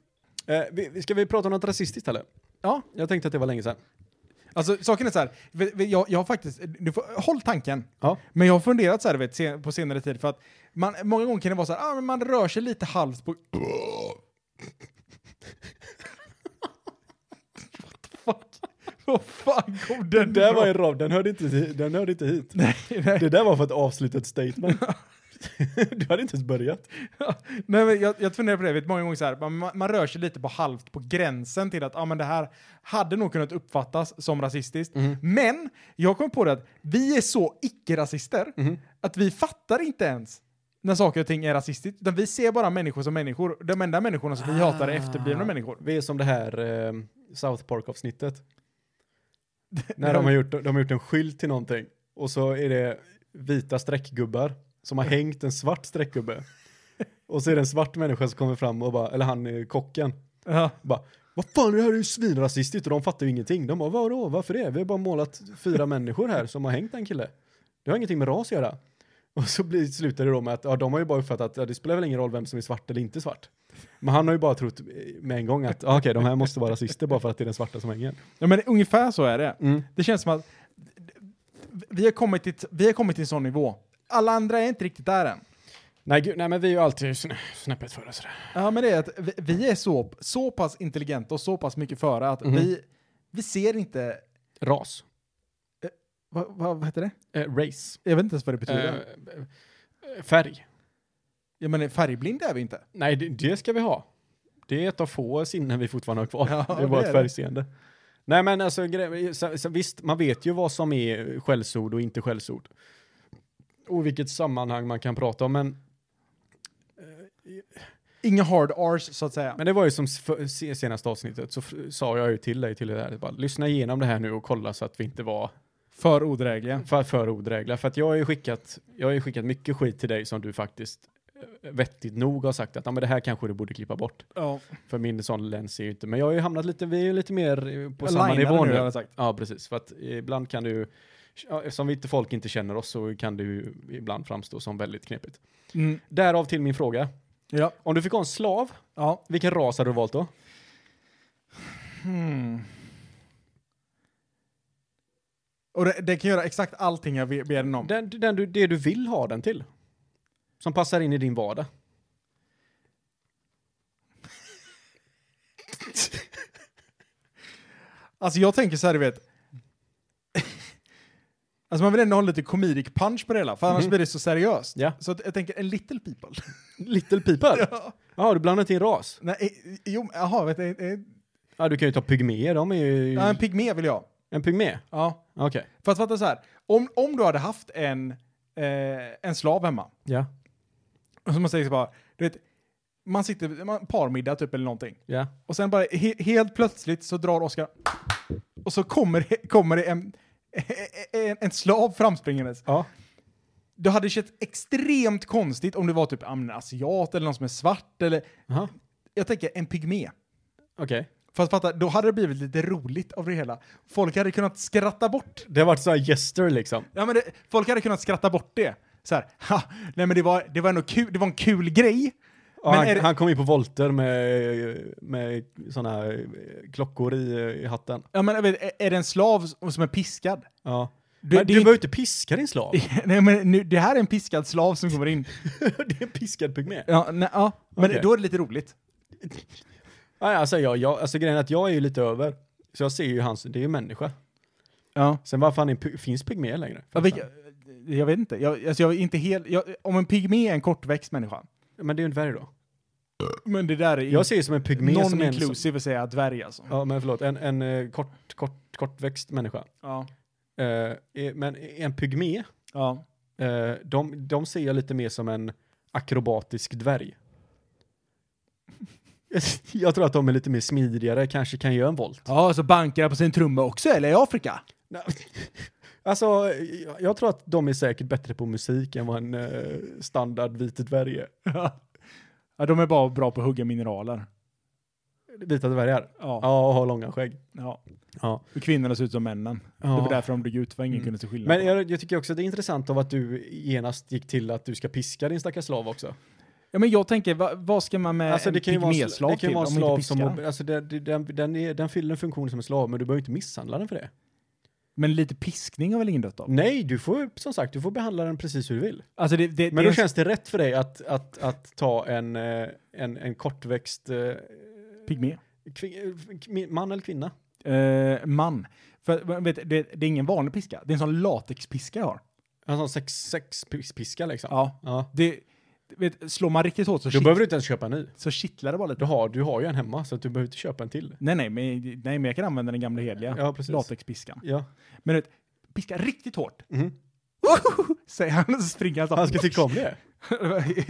Speaker 2: eh, vi- vi- ska vi prata om något rasistiskt eller?
Speaker 4: Ja.
Speaker 2: Jag tänkte att det var länge sedan.
Speaker 4: Alltså saken är så här, vi- vi- jag, jag har faktiskt, du får, håll tanken.
Speaker 2: Ja.
Speaker 4: Men jag har funderat så här vet, sen- på senare tid för att man, många gånger kan det vara så här, ah, men man rör sig lite halvt på... What the fuck? Vad fan kom den
Speaker 2: Den där
Speaker 4: ifrån?
Speaker 2: var en rob, den hörde inte, hit- den hörde inte hit.
Speaker 4: Nej, nej.
Speaker 2: Det där var för att avsluta ett statement. du hade inte ens börjat.
Speaker 4: Nej, men jag, jag funderar på det, vet, många gånger så här, man, man rör sig lite på halvt på gränsen till att ah, men det här hade nog kunnat uppfattas som rasistiskt.
Speaker 2: Mhm.
Speaker 4: Men jag kom på det att vi är så icke-rasister
Speaker 2: Mhm.
Speaker 4: att vi fattar inte ens när saker och ting är rasistiskt, utan vi ser bara människor som människor. De enda människorna som vi
Speaker 2: Ah.
Speaker 4: hatar är efterblivna människor.
Speaker 2: Vi är som det här ehm, South Park-avsnittet. När de har, gjort, de har gjort en skylt till någonting och så är det vita streckgubbar som har hängt en svart streckgubbe. Och så är det en svart människa som kommer fram och bara, eller han eh, kocken,
Speaker 4: Ja.
Speaker 2: Bara, vad fan det här är ju svinrasistiskt och de fattar ju ingenting. De bara, vadå, varför det? Vi har bara målat fyra människor här som har hängt en kille. Det har ingenting med ras att göra. Och så blir, slutar det då med att ja, de har ju bara uppfattat att ja, det spelar väl ingen roll vem som är svart eller inte svart. Men han har ju bara trott eh, med en gång att ja, okej, de här måste vara rasister bara för att det är den svarta som hänger.
Speaker 4: ja, men ungefär så är det.
Speaker 2: Mm.
Speaker 4: Det känns som att vi har kommit till, vi har kommit till en sån nivå. Alla andra är inte riktigt där än.
Speaker 2: Nej, gud, nej, men vi är ju alltid snä, snäppet före sådär.
Speaker 4: Ja, men det är att vi, vi är så, så pass intelligenta och så pass mycket före att
Speaker 2: Mhm.
Speaker 4: vi, vi ser inte...
Speaker 2: Ras.
Speaker 4: Vad, vad, vad heter det?
Speaker 2: Eh, race.
Speaker 4: Jag vet inte ens vad det betyder.
Speaker 2: Eh, färg.
Speaker 4: Jag menar, färgblinda är vi inte.
Speaker 2: Nej, det, det ska vi ha. Det är ett av få sinnen vi fortfarande har kvar.
Speaker 4: Ja,
Speaker 2: det är bara
Speaker 4: det är
Speaker 2: ett
Speaker 4: det.
Speaker 2: färgseende. Nej, men alltså, gre- så, så, visst, man vet ju vad som är skällsord och inte skällsord. Och vilket sammanhang man kan prata om, men,
Speaker 4: Inga hard R's, så att säga.
Speaker 2: men det var ju som s- för- se- senaste avsnittet, så f- sa jag ju till dig till det här, bara, lyssna igenom det här nu och kolla så att vi inte var
Speaker 4: för odrägliga.
Speaker 2: för, för odrägliga. För att jag har ju skickat, jag har ju skickat mycket skit till dig som du faktiskt eh, vettigt nog har sagt att ja, men det här kanske du borde klippa bort.
Speaker 4: Ja.
Speaker 2: För min sån lens är ju inte, men jag har ju hamnat lite, vi är ju lite mer eh, på samma
Speaker 4: Alignade
Speaker 2: nivå
Speaker 4: nu,
Speaker 2: nu.
Speaker 4: hade jag sagt.
Speaker 2: Ja, precis. För att ibland kan du, ja, eftersom vi inte, folk inte känner oss så kan det ju ibland framstå som väldigt knepigt.
Speaker 4: Mm.
Speaker 2: Därav till min fråga.
Speaker 4: Ja.
Speaker 2: Om du fick ha en slav,
Speaker 4: ja.
Speaker 2: vilken ras hade du valt då?
Speaker 4: Hmm. Och det, det kan göra exakt allting jag be- ber den om.
Speaker 2: Den, den du, det du vill ha den till. Som passar in i din vardag.
Speaker 4: Alltså jag tänker så här, du vet. alltså man vill ändå ha lite comedic punch på det hela, för annars blir det så seriöst.
Speaker 2: Mhm. Ja.
Speaker 4: Så att jag tänker, en little people.
Speaker 2: Little people?
Speaker 4: Ja.
Speaker 2: Ja, du blandar inte in ras.
Speaker 4: Nej, jo, jaha, vet du, eh, eh,
Speaker 2: Ja, du kan ju ta pygméer, de är ju...
Speaker 4: ja, en pygmé vill jag.
Speaker 2: en pygmé?
Speaker 4: Ja.
Speaker 2: Okej.
Speaker 4: För att fatta så här, om, om du hade haft en, eh, en slav hemma,
Speaker 2: Ja.
Speaker 4: och som man säger så bara, du vet, man sitter, man, parmiddag typ eller någonting,
Speaker 2: Ja.
Speaker 4: och sen bara he, helt plötsligt så drar Oskar, och så kommer, det- kommer det en, en, en slav framspringandes.
Speaker 2: Ja.
Speaker 4: Det hade känts extremt konstigt om det var typ ja, men en asiat eller någon som är svart eller,
Speaker 2: Aha.
Speaker 4: jag tänker en pygmé.
Speaker 2: Okej.
Speaker 4: För att fatta, då hade det blivit lite roligt av det hela. Folk hade kunnat skratta bort
Speaker 2: Det har varit så här gester liksom.
Speaker 4: Ja, men det, folk hade kunnat skratta bort det. Så här, ha, nej men det var, det var ändå kul, det var en kul grej.
Speaker 2: Ja,
Speaker 4: Men
Speaker 2: han,
Speaker 4: är det-
Speaker 2: han kom in på volter med, med sådana klockor i, i hatten.
Speaker 4: Ja, men jag vet, är- är det en slav som är piskad?
Speaker 2: Ja.
Speaker 4: Du-
Speaker 2: men
Speaker 4: det-
Speaker 2: du behöver inte piska din slav.
Speaker 4: nej, men nu, det här är en piskad slav som kommer in.
Speaker 2: det är en piskad pygmé.
Speaker 4: Ja, nej, ja. men
Speaker 2: Okej.
Speaker 4: då är det lite roligt.
Speaker 2: Nej, alltså, jag, jag, alltså grejen är att jag är ju lite över. Så jag ser ju hans, det är ju människa.
Speaker 4: Ja.
Speaker 2: Sen varför han är, py- finns pygmé längre?
Speaker 4: vilka, jag vet inte, jag, alltså jag är inte helt, jag, om en pygmé är en kortväxt människa.
Speaker 2: Men det är ju en dvärg
Speaker 4: Mm.
Speaker 2: då.
Speaker 4: Men det där är
Speaker 2: Jag ser ju som en pygmé som är en... som-
Speaker 4: non-inclusive att säga dvärg alltså.
Speaker 2: Ja, men förlåt. En, en eh, kort, kort, kortväxt människa.
Speaker 4: Ja.
Speaker 2: Eh, eh, men en pygmé,
Speaker 4: Ja.
Speaker 2: eh, de, de ser jag lite mer som en akrobatisk dvärg. Jag tror att de är lite mer smidigare, kanske kan göra en volt.
Speaker 4: Ja, så bankar jag på sin trumma också, eller i Afrika?
Speaker 2: Nej, Alltså, jag- jag tror att de är säkert bättre på musik än vad en eh, standard vit dvärg är.
Speaker 4: ja, de är bara bra på att hugga mineraler.
Speaker 2: Vita dvärgar?
Speaker 4: Ja.
Speaker 2: Ja, och har långa skägg.
Speaker 4: ja.
Speaker 2: Ja.
Speaker 4: Och kvinnorna ser ut som männen. Det var
Speaker 2: Ja.
Speaker 4: därför de dog ut, för ingen
Speaker 2: Mm.
Speaker 4: kunde se skillnad.
Speaker 2: Men jag, jag tycker också att det är intressant av att du genast gick till att du ska piska din stackars slav också.
Speaker 4: ja, men jag tänker, va, vad ska man med
Speaker 2: Alltså
Speaker 4: Eh, en
Speaker 2: det kan ju vara, en sl-
Speaker 4: pygméslav
Speaker 2: det kan ju
Speaker 4: till
Speaker 2: vara
Speaker 4: om
Speaker 2: en
Speaker 4: man
Speaker 2: slav
Speaker 4: inte
Speaker 2: som,
Speaker 4: piskar
Speaker 2: mob- alltså det, det, den, den, är, den fyller en funktion som en slav men du behöver inte misshandla den för det.
Speaker 4: Men lite piskning har väl ingen dött av?
Speaker 2: Nej, du får som sagt, du får behandla den precis hur du vill.
Speaker 4: Alltså det, det,
Speaker 2: Men
Speaker 4: det
Speaker 2: då
Speaker 4: är-
Speaker 2: känns Mm. det rätt för dig att, att, att ta en, eh, en, en kortväxt eh,
Speaker 4: Pygmé.
Speaker 2: kvin- kvin- man eller kvinna.
Speaker 4: Eh, man. För, vet, du, det, det är ingen vanlig piska, det är en sån latexpiska jag har.
Speaker 2: En sån sex, sex pis- piska liksom.
Speaker 4: Ja. Oh,
Speaker 2: Ja.
Speaker 4: Det, vet, slår man riktigt hårt så,
Speaker 2: Då
Speaker 4: kitt,
Speaker 2: behöver du inte ens köpa en ny.
Speaker 4: så kittlar det bara
Speaker 2: Du
Speaker 4: lite.
Speaker 2: har, du har ju en hemma så att du behöver inte köpa en till.
Speaker 4: Nej, nej, men, nej, men jag kan använda den gamla hedliga
Speaker 2: Ja, precis.
Speaker 4: latexpiskan.
Speaker 2: Ja.
Speaker 4: Men du vet, piska riktigt hårt.
Speaker 2: Mhm.
Speaker 4: Woho! Säger han och så springer Mm. han så.
Speaker 2: Han ska tycka om det.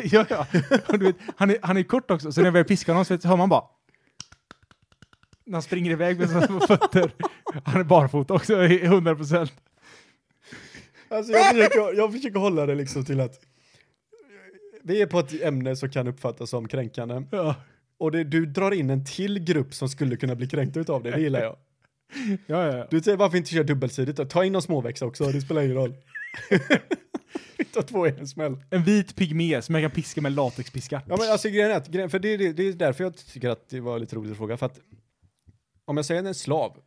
Speaker 4: ja, ja. Och du vet, han, är, han är kort också, så när jag börjar piska honom så vet- hör man bara... När han springer iväg med sina små fötter. Han är barfota också, 100 procent.
Speaker 2: Alltså jag försöker, jag försöker hålla det liksom till att vi är på ett ämne som kan uppfattas som kränkande.
Speaker 4: Ja.
Speaker 2: Och det, du drar in en till grupp som skulle kunna bli kränkta utav det, det gillar jag.
Speaker 4: Ja, ja, ja.
Speaker 2: Du säger varför inte köra dubbelsidigt då? Ta in någon småväxt också, det spelar ingen roll. Ta två i en smäll.
Speaker 4: En vit pygmé som jag kan piska med latexpiska.
Speaker 2: Ja men alltså grejen är att, grejen- för det, det, det är därför jag tycker att det var lite roligt att fråga, för att om jag säger en slav,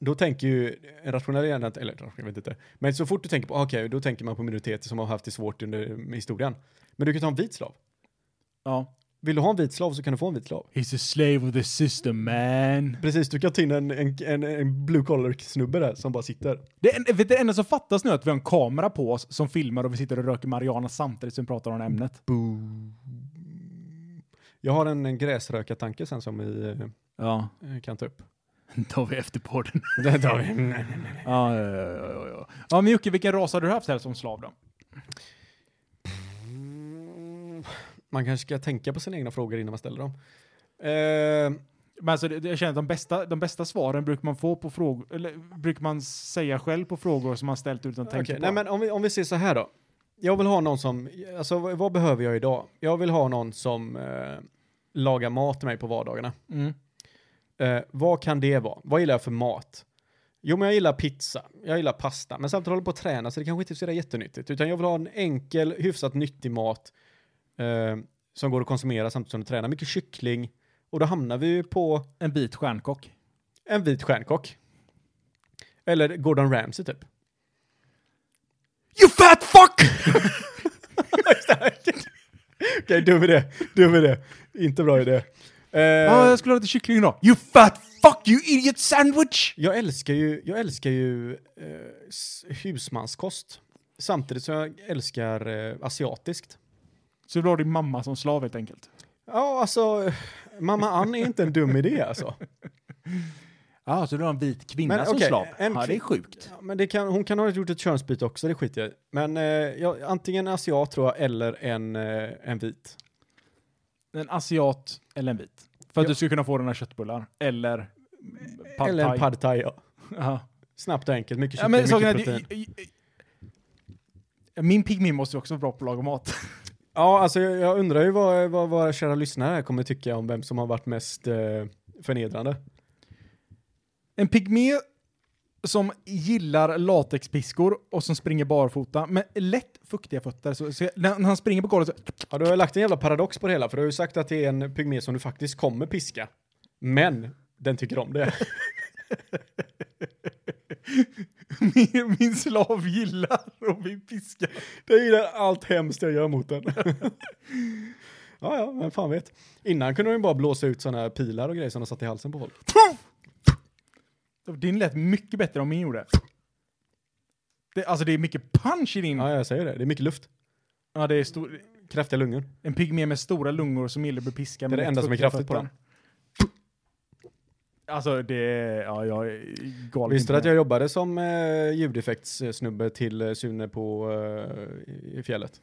Speaker 2: då tänker ju en rationell hjärna, att- eller jag vet inte, men så fort du tänker på, ah, okej, då tänker man på minoriteter som har haft det svårt under historien. Men du kan ta en vit slav.
Speaker 4: Ja.
Speaker 2: Vill du ha en vit slav så kan du få en vit slav.
Speaker 4: He's a slave of the system man.
Speaker 2: Precis, du kan ta in en, en, en, en blue collar snubbe där som bara sitter.
Speaker 4: Det, en- vet, du, det enda som fattas nu är att vi har en kamera på oss som filmar och vi sitter och röker marijuana samtidigt som vi pratar om ämnet.
Speaker 2: Jag har en, en gräsrökartanke sen som vi
Speaker 4: Ja,
Speaker 2: eh, kan ta upp.
Speaker 4: tar vi efter podden.
Speaker 2: Det tar vi.
Speaker 4: ja, ja, ja, ja, ja. ja, men Jocke, vilken ras har du haft här som slav då?
Speaker 2: Mm, Man kanske ska tänka på sina egna frågor innan man ställer dem. Eh,
Speaker 4: Men alltså, det, det- jag känner att de bästa, de bästa svaren brukar man få på frågor, eller brukar man säga själv på frågor som man ställt utan att tänka
Speaker 2: okej,
Speaker 4: på.
Speaker 2: Nej, men om vi, om vi ser så här då. Jag vill ha någon som, alltså vad, vad behöver jag idag? Jag vill ha någon som eh, lagar mat till mig på vardagarna.
Speaker 4: mm.
Speaker 2: Eh, vad kan det vara? Vad gillar jag för mat? Jo, men jag gillar pizza. Jag gillar pasta. Men samtidigt håller jag på att träna, så det kanske inte är så där jättenyttigt. Utan jag vill ha en enkel, hyfsat nyttig mat eh, som går att konsumera samtidigt som du tränar. Mycket kyckling. Och då hamnar vi ju på
Speaker 4: En bit stjärnkock.
Speaker 2: en vit stjärnkock. Eller Gordon Ramsay typ.
Speaker 4: You fat fuck!
Speaker 2: Okej, dum idé. Dum idé. Inte bra idé. Eh,
Speaker 4: Ja, jag skulle ha lite kyckling då. You fat fuck you idiot sandwich!
Speaker 2: Jag älskar ju, jag älskar ju eh, s- husmanskost. Samtidigt som jag älskar eh, asiatiskt.
Speaker 4: Så du vill ha din mamma som slav helt enkelt?
Speaker 2: Ja, alltså, eh, mamma Ann är inte en dum idé alltså.
Speaker 4: Ja, så du har en vit kvinna
Speaker 2: Men,
Speaker 4: som
Speaker 2: okej,
Speaker 4: slav?
Speaker 2: en
Speaker 4: ja, det är
Speaker 2: kvin-
Speaker 4: sjukt.
Speaker 2: Ja, Men det kan, hon kan ha gjort ett könsbyte också, det skiter jag i. Men eh, jag, antingen en asiat tror jag, eller en, eh, en vit.
Speaker 4: En asiat eller en vit. För att
Speaker 2: Ja.
Speaker 4: du skulle kunna få dina köttbullar. Eller pad
Speaker 2: Eller en
Speaker 4: thai.
Speaker 2: pad thai, ja.
Speaker 4: Ja.
Speaker 2: Snabbt och enkelt, mycket
Speaker 4: Ja,
Speaker 2: kyckling,
Speaker 4: men saken är
Speaker 2: mycket
Speaker 4: att...
Speaker 2: protein.
Speaker 4: jag- jag- jag- Min pygmé måste ju också vara bra på att laga mat.
Speaker 2: Ja, alltså jag, jag undrar ju vad, vad våra kära lyssnare här kommer tycka om vem som har varit mest eh, förnedrande.
Speaker 4: En pygmé som gillar latexpiskor och som springer barfota med lätt fuktiga fötter. Så, så jag, när när han springer på golvet så...
Speaker 2: Ja, du har ju lagt en jävla paradox på det hela, för du har ju sagt att det är en pygmé som du faktiskt kommer piska. Men den tycker om det.
Speaker 4: Min, min slav gillar och blir piskad.
Speaker 2: den gillar allt hemskt jag gör mot den. ja, ja, vem fan vet. Innan kunde de ju bara blåsa ut sådana här pilar och grejer som de satt i halsen på folk.
Speaker 4: Din lät mycket bättre om min gjorde. Det, alltså det är mycket punch i din.
Speaker 2: Ja, jag säger det. Det är mycket luft.
Speaker 4: Ja, det är stor,
Speaker 2: Kraftiga lungor.
Speaker 4: en pygmé med stora lungor som gillar att bli piskad.
Speaker 2: Det är
Speaker 4: med
Speaker 2: det enda som är
Speaker 4: fuktiga
Speaker 2: kraftigt på
Speaker 4: fötter. Alltså det, ja jag är galen.
Speaker 2: Visste du att jag jobbade som eh, ljudeffektssnubbe till eh, Sune på eh, i fjället?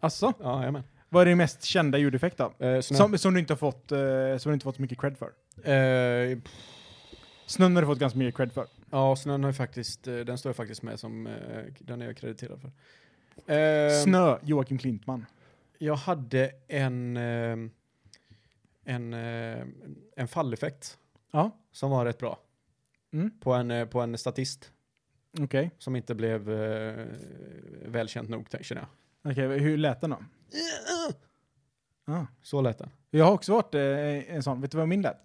Speaker 4: Alltså,
Speaker 2: Ja, jajamän.
Speaker 4: vad är din mest kända ljudeffekt då?
Speaker 2: Eh, snö.
Speaker 4: Som, som, du inte har fått, eh, som du inte fått så mycket cred för?
Speaker 2: Eh, pff,
Speaker 4: Snön har du fått ganska mycket cred för.
Speaker 2: ja, snön har ju faktiskt, eh, den står jag faktiskt med som, eh, den är jag krediterad för. Eh,
Speaker 4: Snö, Joakim Klintman.
Speaker 2: Jag hade en, eh, en, eh, en falleffekt
Speaker 4: Ja,
Speaker 2: som var rätt bra.
Speaker 4: Mm.
Speaker 2: På, en, eh, på en statist
Speaker 4: okej.
Speaker 2: som inte blev eh, välkänt nog, tänk- känner jag.
Speaker 4: Okej, hur lät den då? Ah.
Speaker 2: Så lät den.
Speaker 4: Jag har också varit eh, en sån, vet du vad min lät?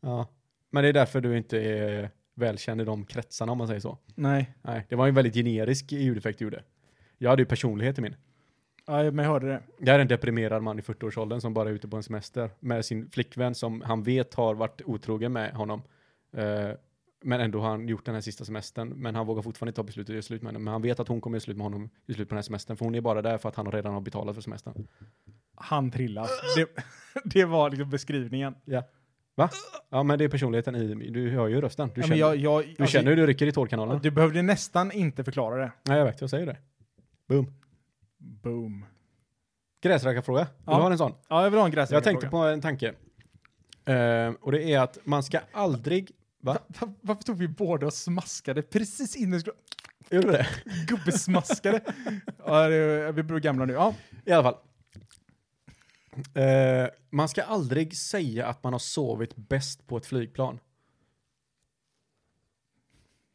Speaker 2: Ja. Men det är därför du inte är välkänd i de kretsarna om man säger så.
Speaker 4: Nej,
Speaker 2: Nej, det var ju en väldigt generisk ljudeffekt du gjorde. Jag hade ju personlighet i min.
Speaker 4: ja, men jag hörde det.
Speaker 2: Jag är en deprimerad man i 40-årsåldern som bara är ute på en semester med sin flickvän som han vet har varit otrogen med honom. Eh, men ändå har han gjort den här sista semestern. Men han vågar fortfarande inte ta beslutet att göra slut med henne. Men han vet att hon kommer göra slut med honom i slut på den här semestern. För hon är bara där för att han redan har betalat för semestern.
Speaker 4: Han trillar. Det, det var liksom beskrivningen.
Speaker 2: Va? Ja, men det är personligheten i... Du hör ju rösten. Du
Speaker 4: Ja,
Speaker 2: känner,
Speaker 4: men jag, alltså- jag, alltså,
Speaker 2: du, känner hur du rycker i tårkanalerna.
Speaker 4: Du behövde nästan inte förklara det.
Speaker 2: Nej, jag vet. Jag säger det. Boom.
Speaker 4: Boom.
Speaker 2: Gräsrackarfråga. Vill du
Speaker 4: Ja.
Speaker 2: ha en sån?
Speaker 4: Ja, jag vill ha en
Speaker 2: Jag
Speaker 4: gräsrackarfråga.
Speaker 2: tänkte på en tanke. Eh, och det är att man ska aldrig... Va?
Speaker 4: Va- va- varför tog vi båda och smaskade precis innan vi skulle...
Speaker 2: Gjorde du det?
Speaker 4: Gubbesmaskade. ja, det, vi blir gamla nu. Ja.
Speaker 2: I alla fall. Eh, man ska aldrig säga att man har sovit bäst på ett flygplan.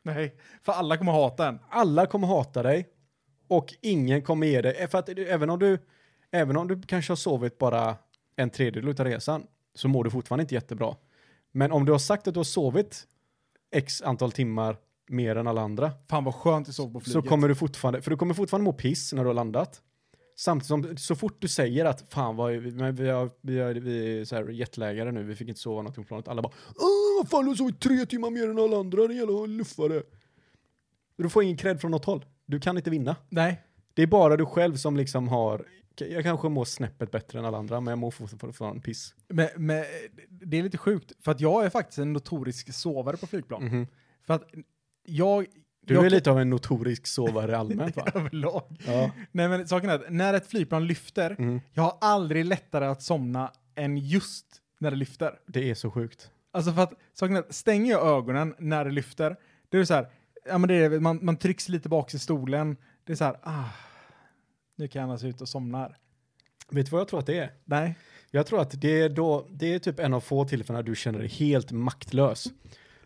Speaker 4: Nej, för alla kommer hata en.
Speaker 2: Alla kommer hata dig och ingen kommer ge dig. Eh, För att du- även om du, även om du kanske har sovit bara en tredjedel av resan så mår du fortfarande inte jättebra. Men om du har sagt att du har sovit x antal timmar mer än alla andra
Speaker 4: Fan vad skönt du sov på flyget.
Speaker 2: så kommer du fortfarande, för du kommer fortfarande må piss när du har landat. Samtidigt som, så fort du säger att fan vad, men vi, har, vi, har, vi är så här jetlaggade nu, vi fick inte sova någonting på planet. Alla bara, Åh, vad fan du har sovit tre timmar mer än alla andra, din jävla luffare. Du får ingen cred från något håll. Du kan inte vinna.
Speaker 4: Nej,
Speaker 2: Det är bara du själv som liksom har, jag kanske mår snäppet bättre än alla andra, men jag mår fortfarande piss.
Speaker 4: men, men det är lite sjukt. För att jag är faktiskt en notorisk sovare på flygplan. För att jag...
Speaker 2: Mhm. Du
Speaker 4: jag
Speaker 2: är lite av en notorisk sovare allmänt va?
Speaker 4: Överlag.
Speaker 2: Ja.
Speaker 4: Nej men saken är att när ett flygplan lyfter,
Speaker 2: Mm.
Speaker 4: jag har aldrig lättare att somna än just när det lyfter.
Speaker 2: Det är så sjukt.
Speaker 4: Alltså för att saken är att stänger jag ögonen när det lyfter, det är så här, ja men det är, man, man trycks lite bak i stolen, det är så här, ah, nu kan jag andas ut och somna här.
Speaker 2: Vet du vad jag tror att det är?
Speaker 4: Nej.
Speaker 2: Jag tror att det är, då, det är typ en av få tillfällen när du känner dig helt maktlös.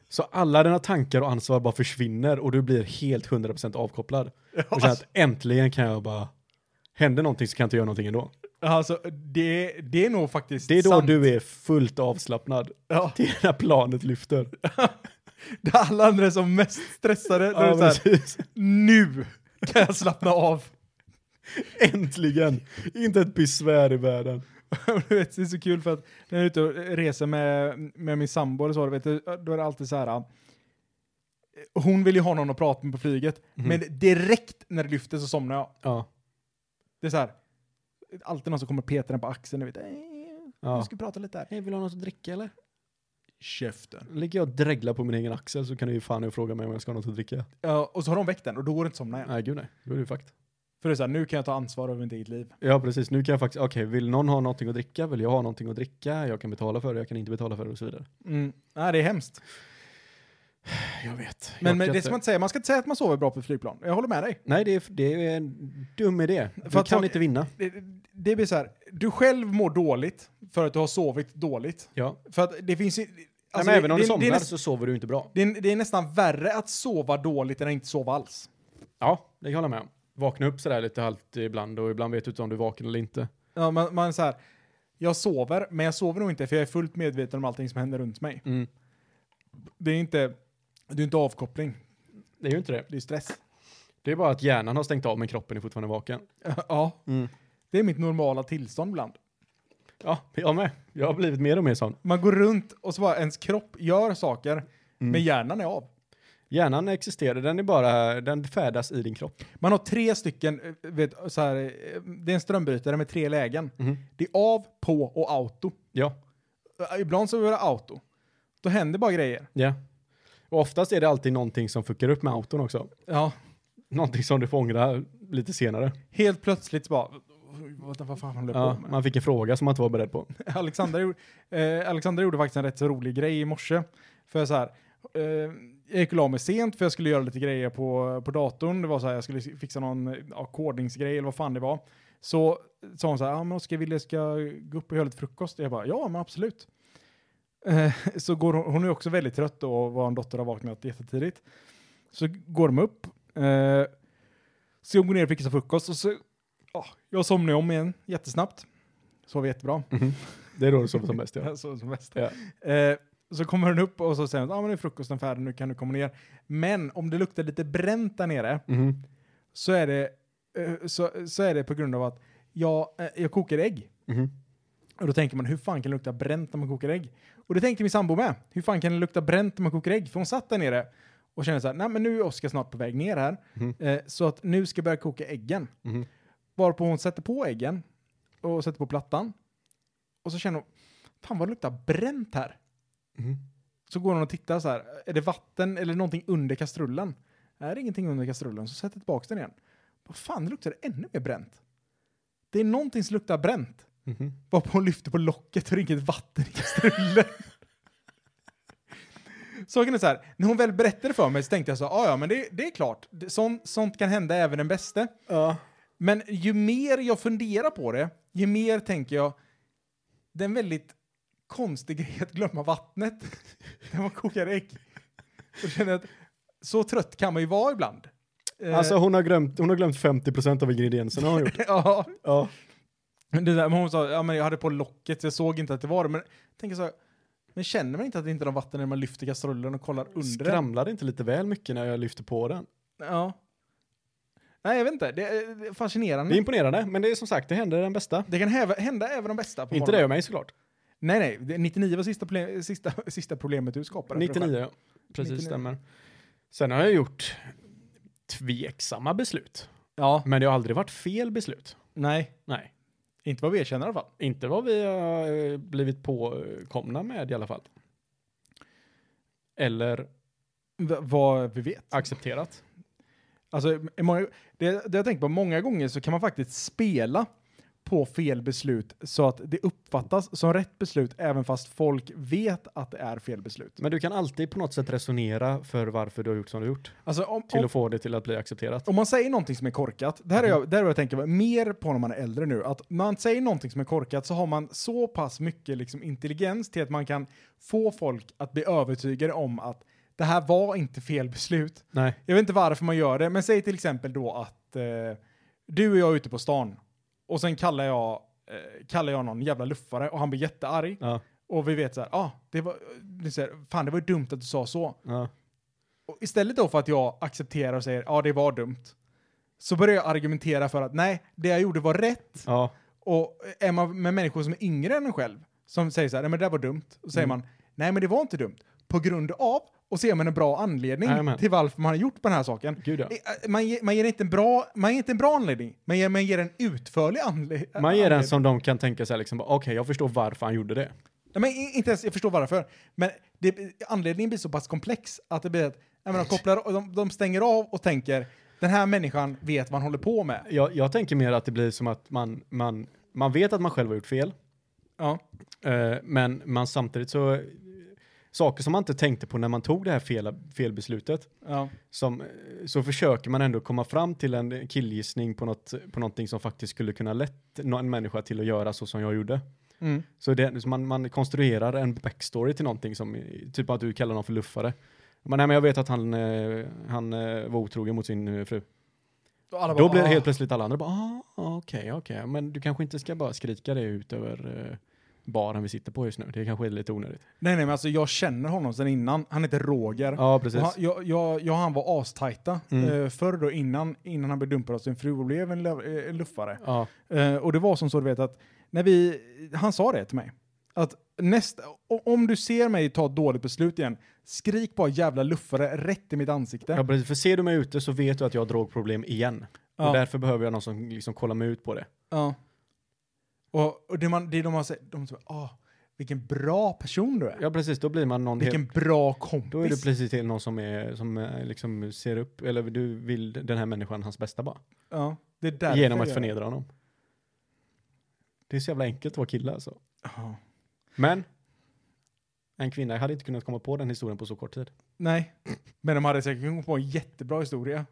Speaker 2: Så alla dina tankar och ansvar bara försvinner och du blir helt 100% avkopplad. Och känner att äntligen kan jag bara, händer någonting så kan jag inte göra någonting ändå.
Speaker 4: Alltså det, det är nog faktiskt
Speaker 2: Det är då
Speaker 4: sant.
Speaker 2: du är fullt avslappnad.
Speaker 4: Ja.
Speaker 2: Det är när planet lyfter.
Speaker 4: Där alla andra är som mest stressade, då är det så här,
Speaker 2: precis.
Speaker 4: nu kan jag slappna av.
Speaker 2: Äntligen! Inte ett besvär i världen.
Speaker 4: du vet, det är så kul för att när jag är ute och reser med, med min sambo eller så, du vet, då är det alltid så här. ah, Hon vill ju ha någon att prata med på flyget,
Speaker 2: Mhm.
Speaker 4: men direkt när det lyfter så somnar jag.
Speaker 2: Ja.
Speaker 4: Det är så här. Alltid någon som kommer och petar en på axeln. Du vet, "Eh,
Speaker 2: ja.
Speaker 4: vi ska prata lite här.
Speaker 2: Hej, vill du ha något att dricka eller?
Speaker 4: Käften.
Speaker 2: Ligger jag och dreglar på min egen axel så kan du ju fan och fråga mig om jag ska ha något att dricka.
Speaker 4: Ja, och så har de väckt den och då går det inte att somna igen.
Speaker 2: Nej, gud nej. Då är du fakt.
Speaker 4: För det är så här, nu kan jag ta ansvar över mitt eget liv.
Speaker 2: Ja, precis. Nu kan jag faktiskt, okej, vill någon ha någonting att dricka? Vill jag ha någonting att dricka? Jag kan betala för det, jag kan inte betala för det och så vidare.
Speaker 4: Mm. Nej, det är hemskt.
Speaker 2: Jag vet.
Speaker 4: Men, men det ska man inte säga. Man ska inte säga att man sover bra på flygplan. Jag håller med dig.
Speaker 2: Nej, det är, det är en dum idé. Du
Speaker 4: För att
Speaker 2: kan
Speaker 4: folk-
Speaker 2: inte vinna.
Speaker 4: Det, det blir så här, du själv mår dåligt för att du har sovit dåligt.
Speaker 2: Ja.
Speaker 4: För att det finns ju...
Speaker 2: Nej,
Speaker 4: alltså
Speaker 2: men
Speaker 4: det-
Speaker 2: även om
Speaker 4: det-
Speaker 2: du somnar
Speaker 4: det, är näst-
Speaker 2: så sover du inte bra.
Speaker 4: det, är, det är nästan värre att sova dåligt än att inte sova alls.
Speaker 2: Ja, det kan jag hålla med om. Vakna upp sådär lite halvt ibland och ibland vet du inte om du är vaken eller inte.
Speaker 4: Ja, man, man är så här, jag sover, men jag sover nog inte för jag är fullt medveten om allting som händer runt mig.
Speaker 2: Mm.
Speaker 4: Det är inte, det är inte avkoppling,
Speaker 2: Det är ju inte det.
Speaker 4: det är stress.
Speaker 2: Det är bara att hjärnan har stängt av men kroppen är fortfarande vaken.
Speaker 4: ja, det är mitt normala tillstånd ibland.
Speaker 2: Ja, jag med. Jag har blivit mer och mer sån.
Speaker 4: Man går runt och så bara ens kropp gör saker, men hjärnan är av.
Speaker 2: Hjärnan existerar, den är bara, den färdas i din kropp.
Speaker 4: Man har tre stycken, eh, vet, så här,
Speaker 2: Mm.
Speaker 4: eh, det är en strömbrytare med tre lägen. Det är av, på och auto.
Speaker 2: Ja.
Speaker 4: ibland så är det auto. Då händer bara grejer.
Speaker 2: Ja. Och oftast är det alltid någonting som fuckar upp med auton också.
Speaker 4: Ja.
Speaker 2: Någonting som du får ångra lite senare.
Speaker 4: Helt plötsligt så bara, "Oj, vad vad fan håller jag
Speaker 2: Ja,
Speaker 4: på med?
Speaker 2: man fick en fråga som man inte var beredd på.
Speaker 4: Alexandra, gjorde- eh, Alexandra gjorde faktiskt en rätt så rolig grej i morse. För jag så här, eh, jag gick och la mig sent för jag skulle göra lite grejer på, på datorn. Det var så här, jag skulle fixa någon ja, kodningsgrej eller vad fan det var. Så sa hon så här, ja ah, men Oskar, vill du ska jag gå upp och göra lite frukost? Jag bara, ja men absolut. Eh, så går hon, hon är också väldigt trött då, och var en dotter har vaknat jättetidigt. Så går de upp. Eh, så jag går ner och fixar frukost och så, ja, jag somnar om igen jättesnabbt. Sover jättebra.
Speaker 2: Det är då du sover som bäst ja.
Speaker 4: Jag såg som mest.
Speaker 2: ja.
Speaker 4: Eh, så kommer den upp och så säger den ah, men nu är frukosten färdig, nu kan du komma ner. Men om det luktar lite bränt där nere
Speaker 2: Mhm.
Speaker 4: så är det, eh, så, så är det på grund av att jag, eh, jag kokar ägg.
Speaker 2: Mhm.
Speaker 4: Och då tänker man, hur fan kan det lukta bränt när man kokar ägg? Och det tänkte min sambo med. Hur fan kan det lukta bränt när man kokar ägg? För hon satt där nere och kände så här, nej men nu är Oskar snart på väg ner här.
Speaker 2: Mhm.
Speaker 4: Eh, så att nu ska jag börja koka äggen.
Speaker 2: Mhm.
Speaker 4: Varpå hon sätter på äggen och sätter på plattan. Och så känner hon, fan vad det luktar bränt här. Mm-hmm.
Speaker 2: Mhm.
Speaker 4: Så går hon och tittar så här, är det vatten eller någonting under kastrullen? Är det ingenting under kastrullen så sätter jag tillbaka den igen. Vad fan, det luktar ännu mer bränt. Det är någonting som luktar bränt.
Speaker 2: Mhm.
Speaker 4: Varpå hon lyfter på locket och det är inget vatten i kastrullen. Saken är så här, när hon väl berättade för mig så tänkte jag så, "Ah, ja men det, det är klart, det, sånt, sånt kan hända även den bäste. Men ju mer jag funderar på det, ju mer tänker jag, det är en väldigt konstig grej att glömma vattnet när man kokar ägg. Och känner att så trött kan man ju vara ibland. Eh,
Speaker 2: Alltså hon har glömt, hon har glömt 50% av ingredienserna har hon gjort.
Speaker 4: ja.
Speaker 2: Ja.
Speaker 4: Men Det där, men hon sa, ja men jag hade på locket, så jag såg inte att det var det. Men jag tänker så här, men känner man inte att det inte är något vatten när man lyfter kastrullen och kollar under den?
Speaker 2: Skramlade inte lite väl mycket när jag lyfte på den?
Speaker 4: Ja. Nej, jag vet inte. Det är, det är fascinerande.
Speaker 2: Det är imponerande, men det är som sagt, det händer den bästa.
Speaker 4: Det kan häva, hända även de bästa. På
Speaker 2: Inte
Speaker 4: morgonen.
Speaker 2: det och mig såklart.
Speaker 4: Nej, nej. det- 99 var sista, proble- sista, sista problemet du skapade.
Speaker 2: 99 ja. Precis,
Speaker 4: 99.
Speaker 2: stämmer. Sen har jag gjort tveksamma beslut.
Speaker 4: Ja,
Speaker 2: Men det har aldrig varit fel beslut.
Speaker 4: nej.
Speaker 2: Nej.
Speaker 4: Inte vad vi erkänner i alla fall.
Speaker 2: Inte vad vi har eh, blivit påkomna med i alla fall. Eller
Speaker 4: V- vad vi vet.
Speaker 2: accepterat.
Speaker 4: Alltså, m- många, det, det jag tänker på, många gånger så kan man faktiskt spela på fel beslut så att det uppfattas som rätt beslut även fast folk vet att det är fel beslut.
Speaker 2: Men du kan alltid på något sätt resonera för varför du har gjort som du har gjort.
Speaker 4: Alltså om,
Speaker 2: Till
Speaker 4: om,
Speaker 2: att få det till att bli accepterat.
Speaker 4: om man säger någonting som är korkat, det här är jag, det här är jag tänker mer på när man är äldre nu, att när man säger någonting som är korkat så har man så pass mycket liksom intelligens till att man kan få folk att bli övertygade om att det här var inte fel beslut.
Speaker 2: Nej.
Speaker 4: Jag vet inte varför man gör det, men säg till exempel då att eh, du och jag är ute på stan och sen kallar jag, eh, kallar jag någon jävla luffare och han blir jättearg
Speaker 2: Ja.
Speaker 4: och vi vet så här, ah, det var, det är så här, fan det var ju dumt att du sa så.
Speaker 2: ja.
Speaker 4: Och istället då för att jag accepterar och säger, ja ah, det var dumt, så börjar jag argumentera för att nej, det jag gjorde var rätt.
Speaker 2: ja.
Speaker 4: Och är man med människor som är yngre än en själv, som säger så här, nej men det där var dumt, och säger
Speaker 2: Mm.
Speaker 4: man, nej men det var inte dumt, på grund av, och ser man en bra anledning
Speaker 2: Jajamän.
Speaker 4: till varför man har gjort på den här saken.
Speaker 2: Gud ja.
Speaker 4: Eh, Man ger, man, ger inte en bra, man ger inte en bra anledning, man ger, man ger en utförlig anledning.
Speaker 2: Man ger den som de kan tänka sig liksom, bara, okej jag förstår varför han gjorde det.
Speaker 4: Nej, men i- inte ens, jag förstår varför. Men det, anledningen blir så pass komplex att det blir att nej, men de, kopplar, och de, de stänger av och tänker den här människan vet vad han håller på med.
Speaker 2: Jag, jag tänker mer att det blir som att man, man, man vet att man själv har gjort fel.
Speaker 4: Ja.
Speaker 2: Eh, men man samtidigt så, saker som man inte tänkte på när man tog det här fel, felbeslutet,
Speaker 4: ja.
Speaker 2: som, eh, så försöker man ändå komma fram till en killgissning på, något, på någonting som faktiskt skulle kunna lett nå- en människa till att göra så som jag gjorde.
Speaker 4: Mm.
Speaker 2: Så, det, så man, man konstruerar en backstory till någonting som, eh, typ att du kallar någon för luffare. Men, nej, men jag vet att han, eh, han eh, var otrogen mot sin eh, fru.
Speaker 4: Och alla
Speaker 2: Då
Speaker 4: bara,
Speaker 2: blir
Speaker 4: "Ah."
Speaker 2: helt plötsligt alla andra bara, ah, okej, okej, men du kanske inte ska bara skrika det ut över eh, baren vi sitter på just nu. Det kanske är lite onödigt.
Speaker 4: Nej, nej, men alltså jag känner honom sedan innan. Han heter Roger.
Speaker 2: Ja, precis.
Speaker 4: Och Han, jag, jag, jag och han var astajta
Speaker 2: Mm.
Speaker 4: eh, förr då innan, innan han blev dumpad av sin fru och blev en, lö- eh, en luffare.
Speaker 2: Ja,
Speaker 4: Eh, och det var som så du vet att när vi, han sa det till mig. Att nästa, o- om du ser mig ta ett dåligt beslut igen, skrik bara jävla luffare rätt i mitt ansikte.
Speaker 2: ja, precis. För ser du mig ute så vet du att jag har drogproblem igen.
Speaker 4: Ja.
Speaker 2: Och därför behöver jag någon som liksom kollar mig ut på det.
Speaker 4: Ja. Och, och det, man, det är de man säger, de säger, ah, vilken bra person du är.
Speaker 2: Ja, precis. Då blir man någon...
Speaker 4: vilken bra kompis.
Speaker 2: Då är du precis till någon som, är, som eh, liksom ser upp, eller du vill den här människan hans bästa bara.
Speaker 4: ja, det är därför
Speaker 2: genom att
Speaker 4: jag-
Speaker 2: förnedra honom. Det är så jävla enkelt att vara kille alltså.
Speaker 4: Ja.
Speaker 2: Men, en kvinna hade inte kunnat komma på den historien på så kort tid.
Speaker 4: Nej, men de hade säkert kunnat komma på en jättebra historia.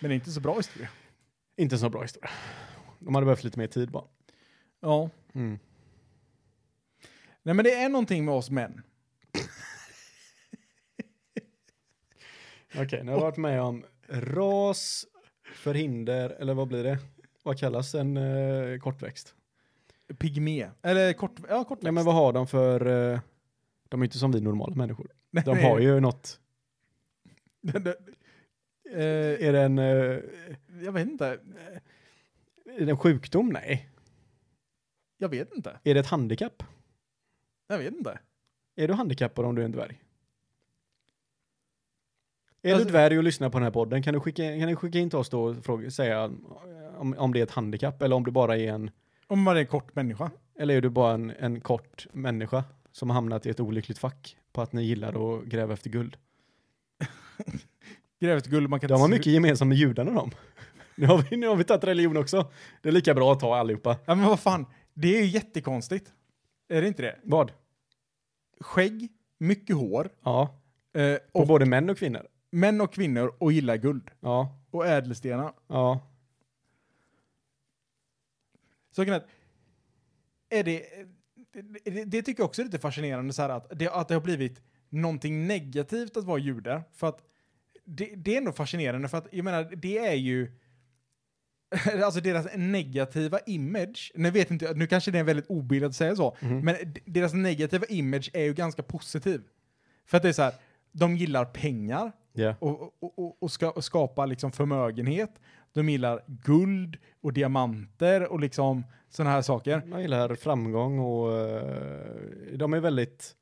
Speaker 4: Men inte så bra historia.
Speaker 2: Inte så bra historia. De hade behövt lite mer tid bara.
Speaker 4: Ja.
Speaker 2: Mm.
Speaker 4: Nej men det är någonting med oss män.
Speaker 2: Okej, nu har jag varit med om ras, förhinder, eller vad blir det? Vad kallas en eh, kortväxt?
Speaker 4: Pygmé. Eller kort... Ja, kortväxt.
Speaker 2: Nej men vad har de för... Eh, de är inte som vi normala människor.
Speaker 4: Nej,
Speaker 2: De
Speaker 4: nej.
Speaker 2: har ju något...
Speaker 4: Den- den-
Speaker 2: Eh, är det en... Eh,
Speaker 4: jag vet inte.
Speaker 2: är det en sjukdom? Nej.
Speaker 4: Jag vet inte.
Speaker 2: Är det ett handikapp?
Speaker 4: Jag vet inte.
Speaker 2: Är du handikappad om du är en dvärg? Är
Speaker 4: Alltså-
Speaker 2: du dvärg och lyssnar på den här podden kan du skicka, kan du skicka in till oss då och fråga, säga om, om det är ett handikapp eller om du bara är en,
Speaker 4: Om man är en kort människa.
Speaker 2: eller är du bara en, en kort människa som har hamnat i ett olyckligt fack på att ni gillar att gräva efter guld.
Speaker 4: Gräv ett guld man kan
Speaker 2: De har
Speaker 4: inte-
Speaker 2: mycket gemensamt med judarna de. Nu har vi, nu har vi tagit religion också. Det är lika bra att ta allihopa.
Speaker 4: Ja men vad fan. Det är ju jättekonstigt. Är det inte det?
Speaker 2: Vad?
Speaker 4: Skägg, mycket hår,
Speaker 2: Ja,
Speaker 4: eh,
Speaker 2: på
Speaker 4: och
Speaker 2: både män och kvinnor.
Speaker 4: män och kvinnor och gillar guld.
Speaker 2: Ja,
Speaker 4: Och ädelstenar.
Speaker 2: ja.
Speaker 4: Så kan jag- är det, det, det tycker jag också är lite fascinerande så här att det, att det har blivit någonting negativt att vara jude. För att det, det är ändå fascinerande för att jag menar det är ju alltså deras negativa image. Nu vet inte, nu kanske det är väldigt obildat att säga så, men d- deras negativa image är ju ganska positiv. För att det är så här, de gillar pengar,
Speaker 2: Ja.
Speaker 4: och, och, och, och, ska, och skapa liksom förmögenhet. De gillar guld och diamanter och liksom sådana här saker.
Speaker 2: Man gillar framgång och eh, de är väldigt